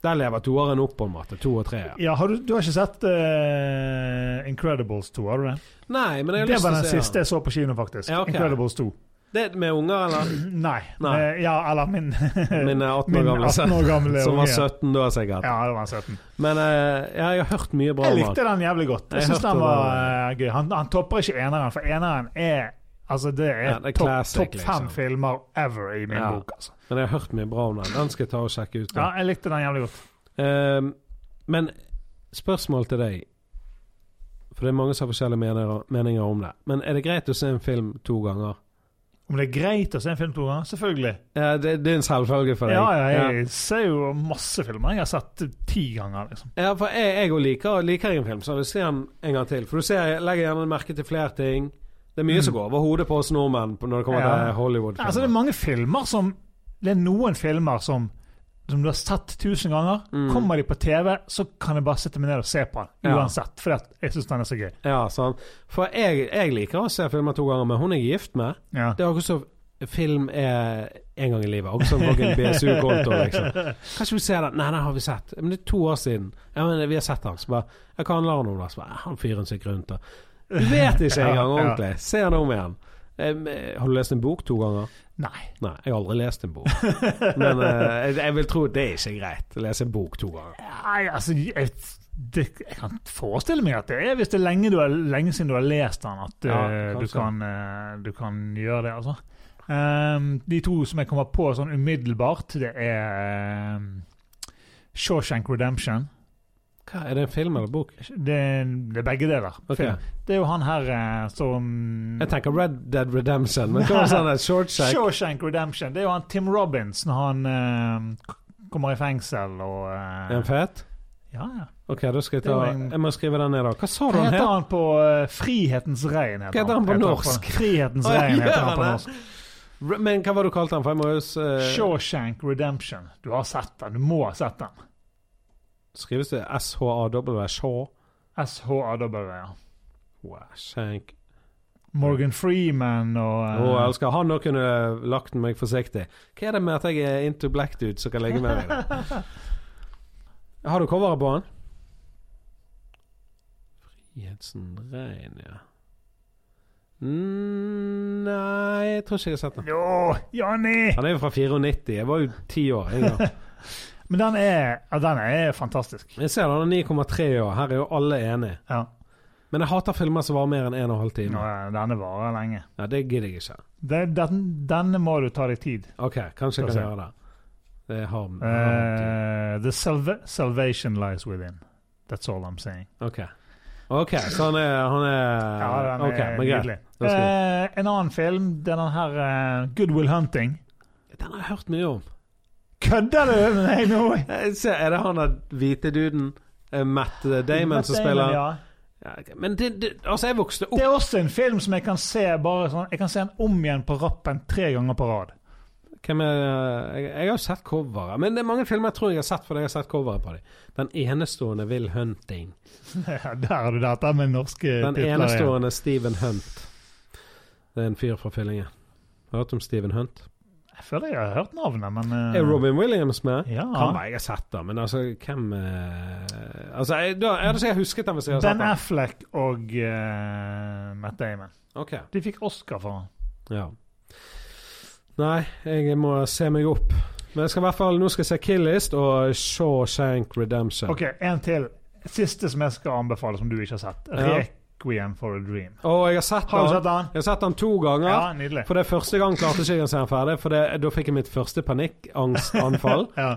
Der lever toeren opp, på en måte. To og tre. Ja.
Ja, har du, du har ikke sett eh, Incredibles 2, har du det?
Nei, men jeg har
Det
lyst til
var
å
den
se
siste jeg så på kino, faktisk.
Ja, ok.
Incredibles 2.
Det er med unger, eller?
*clears throat* Nei.
Nei.
Eh, Ja, eller *laughs* min
Min eh, 18 år
Min
gamle
18
sønn,
år gamle
som var
unge.
17 da, sikkert.
Ja, det var 17.
Men eh, ja, jeg har hørt mye bra om
Jeg
han.
likte den jævlig godt. Jeg
Jeg
syns
hørte
den var eh, gøy. Han, han topper ikke eneren, for eneren er Altså, det er,
Ja, det er
topp
classic,
topp fem
liksom.
filmer ever i min
Ja.
bok. Altså.
Men jeg har hørt mye bra om den. Den skal jeg ta og sjekke ut. da.
Ja, jeg likte den jævlig godt.
Ehm, men spørsmål til deg. For det er mange som har forskjellige mener- meninger om det. Men er det greit å se en film to ganger?
Om det er greit å se en film to ganger? Selvfølgelig.
Ja, det, det er en selvfølge for deg.
Ja, ja, jeg ser jo masse filmer jeg har sett ti ganger, liksom.
Ja, for jeg, jeg også liker, liker en film, så jeg vil se den en gang til. For du ser, jeg legger gjerne merke til flere ting. Det er mye som går over hodet på oss nordmenn på- når det kommer
Mm. Ja.
til Hollywood-filmer.
Altså, det er mange filmer som Det er noen filmer som som du har sett tusen ganger.
Mm.
Kommer de på TV, så kan jeg bare sette meg ned og se på den
Ja.
uansett. Fordi at jeg syns den er så gøy.
Ja, sant. For jeg, jeg liker å se filmer to ganger, men hun jeg er gift med
Ja.
Det er akkurat som film er en gang i livet. Akkurat som noen BSU-konto, liksom. Kanskje vi ser den? Nei, den har vi sett. Men det er to år siden. Ja, men vi har sett den. Så bare, jeg kan la den om, da. Så bare, han fyren som gikk rundt og Du vet *laughs* ikke engang
Ja, ja.
ordentlig. Se den om igjen. Em, eh, Har du lest en bok to ganger?
*laughs* Nei.
Nei, jeg har aldri lest *laughs* en bok. Men eh, jeg- jeg vil tro det er ikke greit å lese en bok to ganger.
Nei, altså jeg, det, jeg kan forestille meg at det er hvis det er lenge, du har, lenge siden du har lest den, at
Ja,
eh, du,
kanskje.
kan, eh, du kan gjøre det, altså. Ehm, de to som jeg kommer på sånn umiddelbart, det er ehm, Shawshank Redemption.
Hva, Er det en film eller bok?
Det, det er begge deler.
Ok.
Film. Det er jo han her eh, som
Jeg tenker Red Dead Redemption, men hva var sånn der short check?
Shawshank Redemption. Det er jo han Tim Robins når han ehm, k- kommer i fengsel og eh,
Er den fet?
Ja, ja.
Ok, da skal jeg
Det er jo
ta
en-
Jeg må skrive den ned, da. Hva sa du
Hva
den
heter
het?
han på eh, Frihetens regn?
Hva heter han på norsk?
Frihetens
Å, ja,
regn heter
gjør
han
han
på
det?
norsk.
Re- Men hva var det du kalte den? For jeg må jo s- eh,
Shawshank Redemption. Du har sett den. Du må ha sett den.
Skrives det SHAW? Shaw?
SHAW. ja.
Wow, Shank.
Morgan Freeman og eh,
Å, jeg elsker han nå kunne lagt meg forsiktig. Hva er det med at jeg er into black dude som kan ligge med meg? da?
*laughs*
Har du coveret på han? Frihetsen Rein, ja. Mm, nei, jeg tror ikke jeg har sett den.
Jo, Johnny!
Han er jo fra 94. Jeg var jo ti år. En gang.
Men den er, ja, den er fantastisk.
Jeg ser han er 9,3 år. Her er jo alle enige.
Ja.
Men jeg hater filmer som varer mer enn 1 12
Nå,
timer.
eh, Denne varer lenge.
Ja, det gidder jeg ikke.
Den, den, denne må du ta deg tid.
Ok, kanskje jeg
Skal
kan
se.
gjøre det. Det er harm. harm
Eh, the salva salvation lies within. That's all I'm saying.
tid. ok. Ok, så han er, han er
Ja, den er
Eh, Ok, men greit.
nydelig.
Da skal
Eh, en annen film, det er den her eh, Good Will Hunting.
Den har jeg hørt mye om.
Kødder du med meg nå?
Jeg ser, er det han der hvite duden? eh, Matt *laughs* Damon som spiller
Ja.
ja. ok. Men det, det, altså, jeg vokste opp
Det er også en film som jeg kan se bare sånn, jeg kan se den om igjen på rappen tre ganger på rad. *laughs*
Hvem er, jeg, jeg har jo sett coveret. Men det er mange filmer jeg tror jeg har sett fordi jeg har sett coveret på dem. Den enestående Will Hunting.
Ja, Der har du dette med norske
Den
titler. igjen.
enestående Steven Hunt. Det er en fyr fra Fillingen. Har du hørt om Steven Hunt?
Jeg føler jeg har hørt navnet, men eh,
Er Robin Williams med?
Ja.
Kan være jeg har sett den, men altså, hvem eh, Altså, jeg, da, jeg hadde ikke husket den hvis jeg hadde
Ben
sett den.
Affleck og eh, Matt Damon.
Ok,
De fikk Oscar for den.
ja. Nei, jeg må se meg opp. Men jeg skal i hvert fall, nå skal jeg se Killist og Shawshank Redemption.
OK, en til. Siste som jeg skal anbefale, som du ikke har sett.
Ja.
Requiem for a Dream.
Og jeg har sett
Har du
den,
sett den?
jeg har sett den to ganger.
Ja, nydelig.
For det første gang klarte ikke jeg å se den ferdig, for det, da fikk jeg mitt første panikkangstanfall.
*laughs* Ja,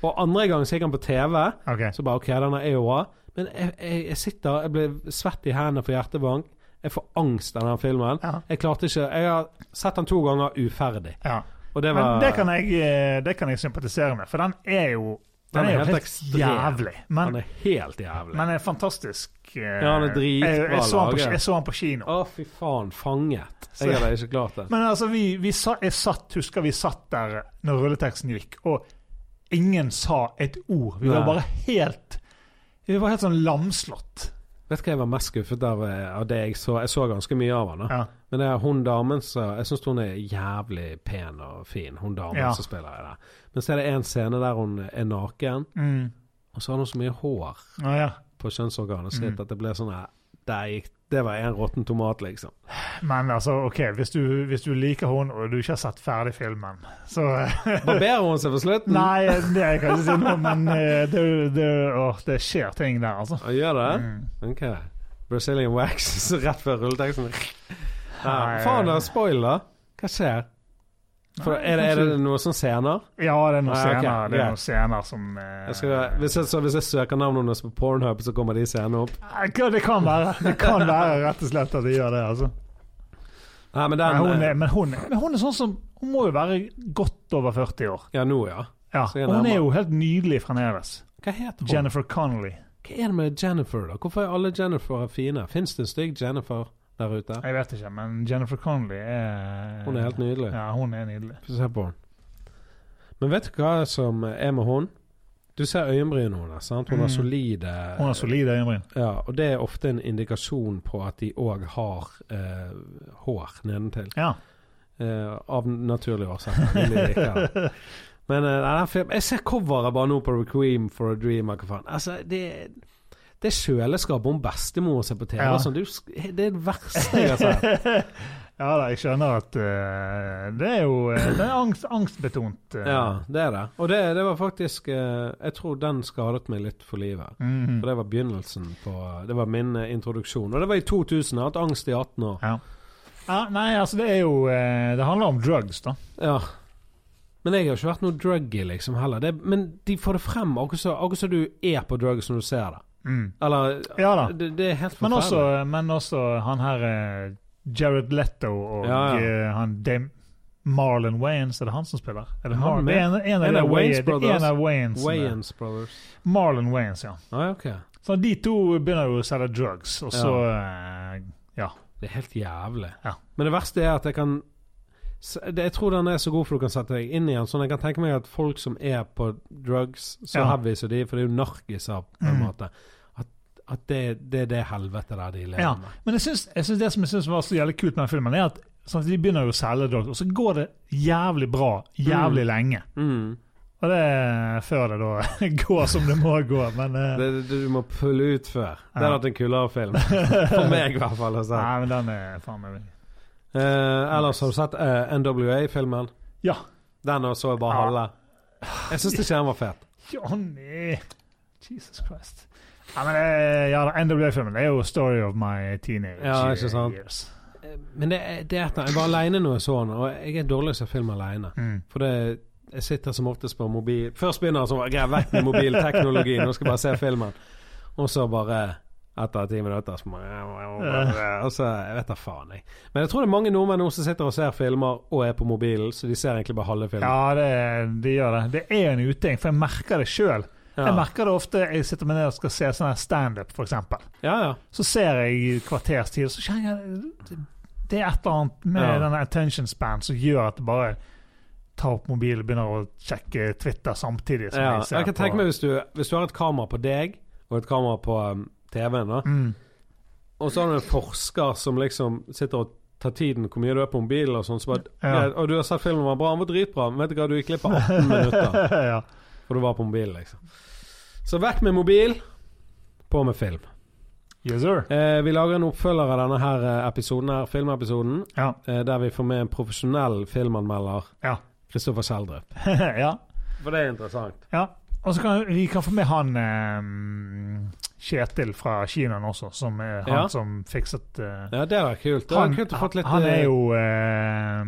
og andre gang så gikk han på TV.
ok.
Så bare OK, denne er jo bra. Men jeg, jeg, jeg sitter Jeg blir svett i hendene for hjertebank. Jeg får angst av den filmen.
Ja.
Jeg klarte ikke Jeg har sett den to ganger uferdig.
ja.
Og det var
Men det kan, jeg, eh, det kan jeg sympatisere med, for den er jo Den, er, jo helt,
ekstrem.
jævlig.
Han
Men,
er helt jævlig.
men er fantastisk. eh,
han er dritbra
jeg, jeg, så han på,
laget.
jeg så han på kino.
Å, fy faen. Fanget.
Så-
Jeg hadde ikke klart det.
Men altså, vi, vi sa, jeg satt, husker vi satt der når rulleteksten gikk, og ingen sa et ord. Vi var
Nei.
bare helt Vi var helt sånn lamslått.
Vet du hva jeg var mest skuffet av, eh, av det jeg så? Jeg så ganske mye av han da.
Ja.
Men det er hun damen som Jeg syns hun er jævlig pen og fin, hun damen
Ja.
som spiller i det. Men så er det en scene der hun er naken,
Mm.
og så har hun så mye hår.
Å, ja. Mm.
på kjønnsorganet sitt at det ble sånn her Der gikk Det var en råtten tomat,
*laughs*
liksom.
Men altså, OK, hvis du, hvis du liker hun og du ikke har sett ferdig filmen, så eh,
Barberer hun seg for slutten?
Nei, det kan jeg ikke si noe om, men eh, det, det, åh, det skjer ting der, altså.
Han gjør det?
Mm.
Ok. Brazilian wax *laughs* så rett før rulleteksten. Ja,
Nei.
faen, da. Spoiler. Hva skjer? For,
Nei,
er, det, er
kanskje-
det noe som scener?
Ja, det er noen
Nei, ok,
scener, det
greit.
er noen scener som eh,
Jeg skal, hvis, jeg, så hvis jeg søker navnet hennes på Pornhub, så kommer de scenene opp?
Ja, Det kan være. Det
*laughs*
kan være rett og slett at de gjør det, altså.
Nei, men
Men
den eh,
hun er, men hun, men hun er sånn som Hun må jo være godt over 40 år.
Ja, nå, ja.
Ja,
Så er
og hun
nærmere.
er jo helt nydelig fremdeles.
Hva heter hun?
Jennifer Connolly.
Hva er det med Jennifer, da? Hvorfor er alle Jennifer fine? Fins det en stygg Jennifer der ute?
Jeg vet ikke, men Jennifer Connolly er
Hun er helt nydelig.
Ja, hun er nydelig.
Få se på henne. Men vet du hva som er med hun? Du ser øyenbrynene hennes. sant? Hun har
Mm.
solide
Hun har solide øyenbryn.
Ja, og det er ofte en indikasjon på at de òg har eh, hår nedentil.
Ja.
Eh, av naturlige årsaker. Vil jeg ikke
*laughs*
ha det. Men eh, nei, den film, jeg ser coveret bare nå på Requiem for a Dream. Hva faen. Altså, det, det kjøleskapet om bestemor ser på TV,
Ja.
og sånn, du, sk- det er det verste *laughs* jeg har sett.
*laughs* ja da, jeg skjønner at eh, det er jo eh, det er angst, angstbetont. eh.
Ja, det er det. Og det, det var faktisk eh, Jeg tror den skadet meg litt for livet.
Mhm.
For det var begynnelsen på Det var min eh, introduksjon. Og det var i 2000. Jeg har hatt angst i 18 år.
ja, nei, altså det er jo eh, Det handler om drugs, da.
Ja. Men jeg har ikke vært noe druggy, liksom, heller. Det, men de får det frem, akkurat så- akkurat som du er på drugs når du ser det.
Mm.
Eller
Ja da.
det, det er helt
Men
forferdelig.
også, men også han her eh, Jared Letto og
Ja, ja.
eh, han Dame Marlon Wayans, er det han som spiller? Er det
Han
Marlon?
med.
Det er en, en, av
En
de
av Wayans
Wayans- det er
brothers.
en av Wayans. eh,
Wayans Brothers.
Marlon Wayans, ja.
Ah, ok.
Så de to begynner jo å selge drugs, og så eh,
Det er helt jævlig.
Ja.
Men det verste er at jeg kan s- det- Jeg tror den er så god for du kan sette deg inn i den. Sånn jeg kan tenke meg at folk som er på drugs, så
Ja.
heavy som de, for det er jo narkiser, på en
Mm.
måte, at, at det, det er det helvete der de lever
Ja.
med.
Men jeg syns, jeg syns det som jeg syns var så jævlig kult med den filmen, er at sånn, de begynner jo å selge drugs, og så går det jævlig bra jævlig lenge.
Mm.
Og det er før det da *laughs* går som det må gå, men eh,
Det, det, du må pulle ut før. Det hadde
Ja.
vært en kulere film. For meg, altså. i hvert fall. å si.
Nei, men den er faen meg
Eh, ellers har du sett eh, NWA-filmen?
Ja.
Den og så bare
Ja.
halve. Jeg syns ikke den var fet.
Johnny! Jesus Christ. Ja, men eh, ja, NWA-filmen det er jo 'Story of My Teenage
Ja, ikke sant?
Years'.
Eh, Men det, er- det er etter, jeg var aleine når jeg så den, og jeg er dårlig til å filme aleine.
Mm.
For det, jeg sitter som oftest på mobil Først begynner jeg sånn Greit, vekk med mobilteknologi, nå skal jeg bare se filmen. Og så bare etter ti minutter så bare- Og så Jeg vet da faen, jeg. Men jeg tror det er mange nordmenn nå som sitter og ser filmer og er på mobilen, så de ser egentlig bare halve filmen.
Ja, det, de gjør det. Det er en uting, for jeg merker det sjøl. Jeg
Ja,
merker det ofte jeg sitter med ned og skal se sånn her standup, f.eks.
ja. ja.
Så ser jeg i et kvarters tid, så kjenner jeg det- Det er et eller annet med
Ja.
denne attention span som gjør at det bare tar opp mobilen og begynner å sjekke Twitter samtidig. som
ja.
jeg ser
Jeg kan
på-
tenke meg hvis du, hvis du har et kamera på deg, og et kamera på um, TV-en, da.
mm.
og så har du en forsker som liksom sitter og tar tiden hvor mye du er på mobilen og sånn, så bare
Ja.
ja, Og du har sett filmen var bra, den var dritbra, men vet du hva, du gikk glipp av 18 minutter
*laughs* ja.
for du var på mobilen, liksom. Så vekk med mobil, på med film.
Yes, sir.
Eh, vi lager en oppfølger av denne her eh, episoden her, filmepisoden,
Ja.
eh, der vi får med en profesjonell filmanmelder,
Ja.
Kristoffer Schjelderup.
*laughs* ja.
For det er interessant.
Ja, og så kan vi kan få med han eh, Kjetil fra Kinaen også, som er han
Ja.
som fikset eh,
Ja, det var kult. Det var
han,
kult å fått litt
han
eh,
er jo eh,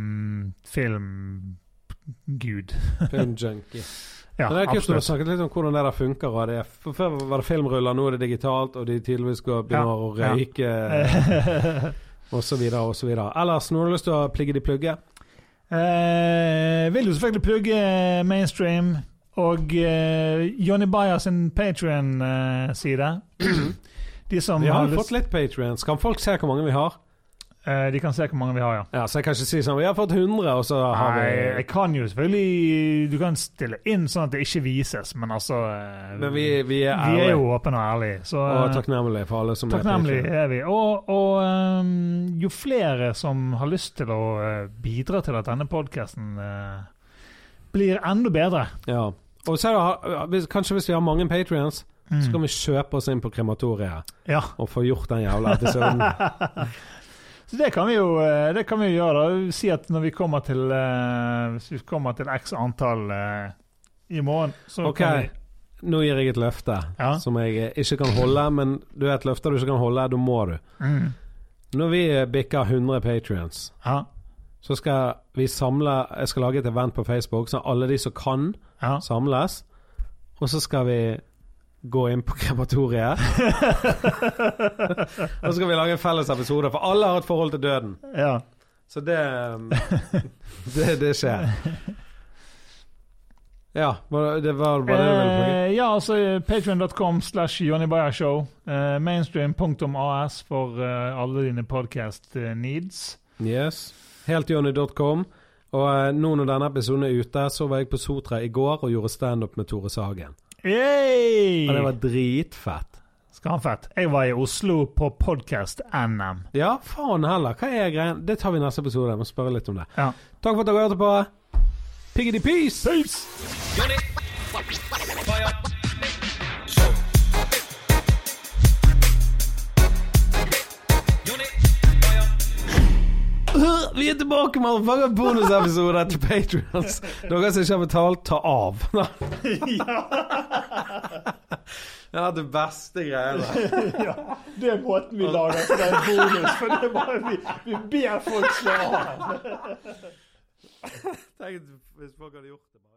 filmgud.
filmjunkie.
*laughs* Ja,
Men det er kult å ha
absolutt.
snakket litt om hvordan det der funker. Og det er, for før var det filmruller, nå er det digitalt, og de tydeligvis går, begynner å
Ja, Eh. ja.
røyke
*laughs*
og så videre og så videre. Ellers, noen har lyst til å pligge de plugge?
Eh, vil jo selvfølgelig plugge eh, mainstream og eh, Jonny Bayer sin Patrion-side.
*clears throat*
De som
Vi har jo
lyst-
fått litt Patrions. Kan folk se hvor mange vi har?
Eh, de kan se hvor mange vi har, ja.
Ja, Så jeg kan ikke si sånn Vi har fått 100, og så har
Nei,
vi
jeg kan jo selvfølgelig Du kan stille inn sånn at det ikke vises, men altså eh,
Men vi, vi er
vi er
ærlige
jo åpne og ærlige. Så
og
eh,
takknemlige for alle som
takknemlige
er Patreon.
er vi. Og, og eh, jo flere som har lyst til å eh, bidra til at denne podkasten blir enda bedre
Ja. Og så er det, hvis- kanskje hvis vi har mange Patrions,
Mm.
Så kan vi kjøpe oss inn på krematoriet
Ja.
og få gjort den jævla
*laughs*
episoden.
Så det kan vi jo eh, det kan vi jo gjøre. da. Si at når vi kommer til eh, Hvis vi kommer til x antall eh, i morgen, så
Ok,
kan vi
nå gir jeg et løfte
Ja.
som jeg eh, ikke kan holde, men du er et løfte du ikke kan holde, da må du.
mm,
Når vi eh, bikker 100 patrions,
Ja.
så skal vi samle Jeg skal lage et event på Facebook, så alle de som kan,
ja.
*laughs* samles. Og så skal vi gå inn på *laughs* krematoriet. og så skal vi lage en felles episode, for alle har et forhold til døden.
ja.
Så det um, *laughs* Det, det skjer. Ja, var det- det var bare det du ville plugge?
Eh, ja, altså patreon.com slash Jonny Bayer Show. Eh, Mainstream.as for eh, alle dine podcast eh, needs.
Yes. Heltjohnny.com. Og eh, nå når denne episoden er ute, så var jeg på Sotra i går og gjorde standup med Tore Sagen.
Yay!
Og det var dritfett.
Skamfett. Jeg var i Oslo på podcast-NM.
Ja, faen heller. Hva er greien? Det tar vi i neste episode. Jeg må spørre litt om det.
Ja.
Takk for at dere hørte på. Piggity peace!
Peace! *laughs*
Vi er tilbake med en bonusepisode til Patrions. Dere som ikke har betalt, ta av. Det er det beste greiene.
Det er måten vi lager for den bonus, for det er bare vi, vi ber folk slå av.
Tenk hvis folk hadde gjort det. bare.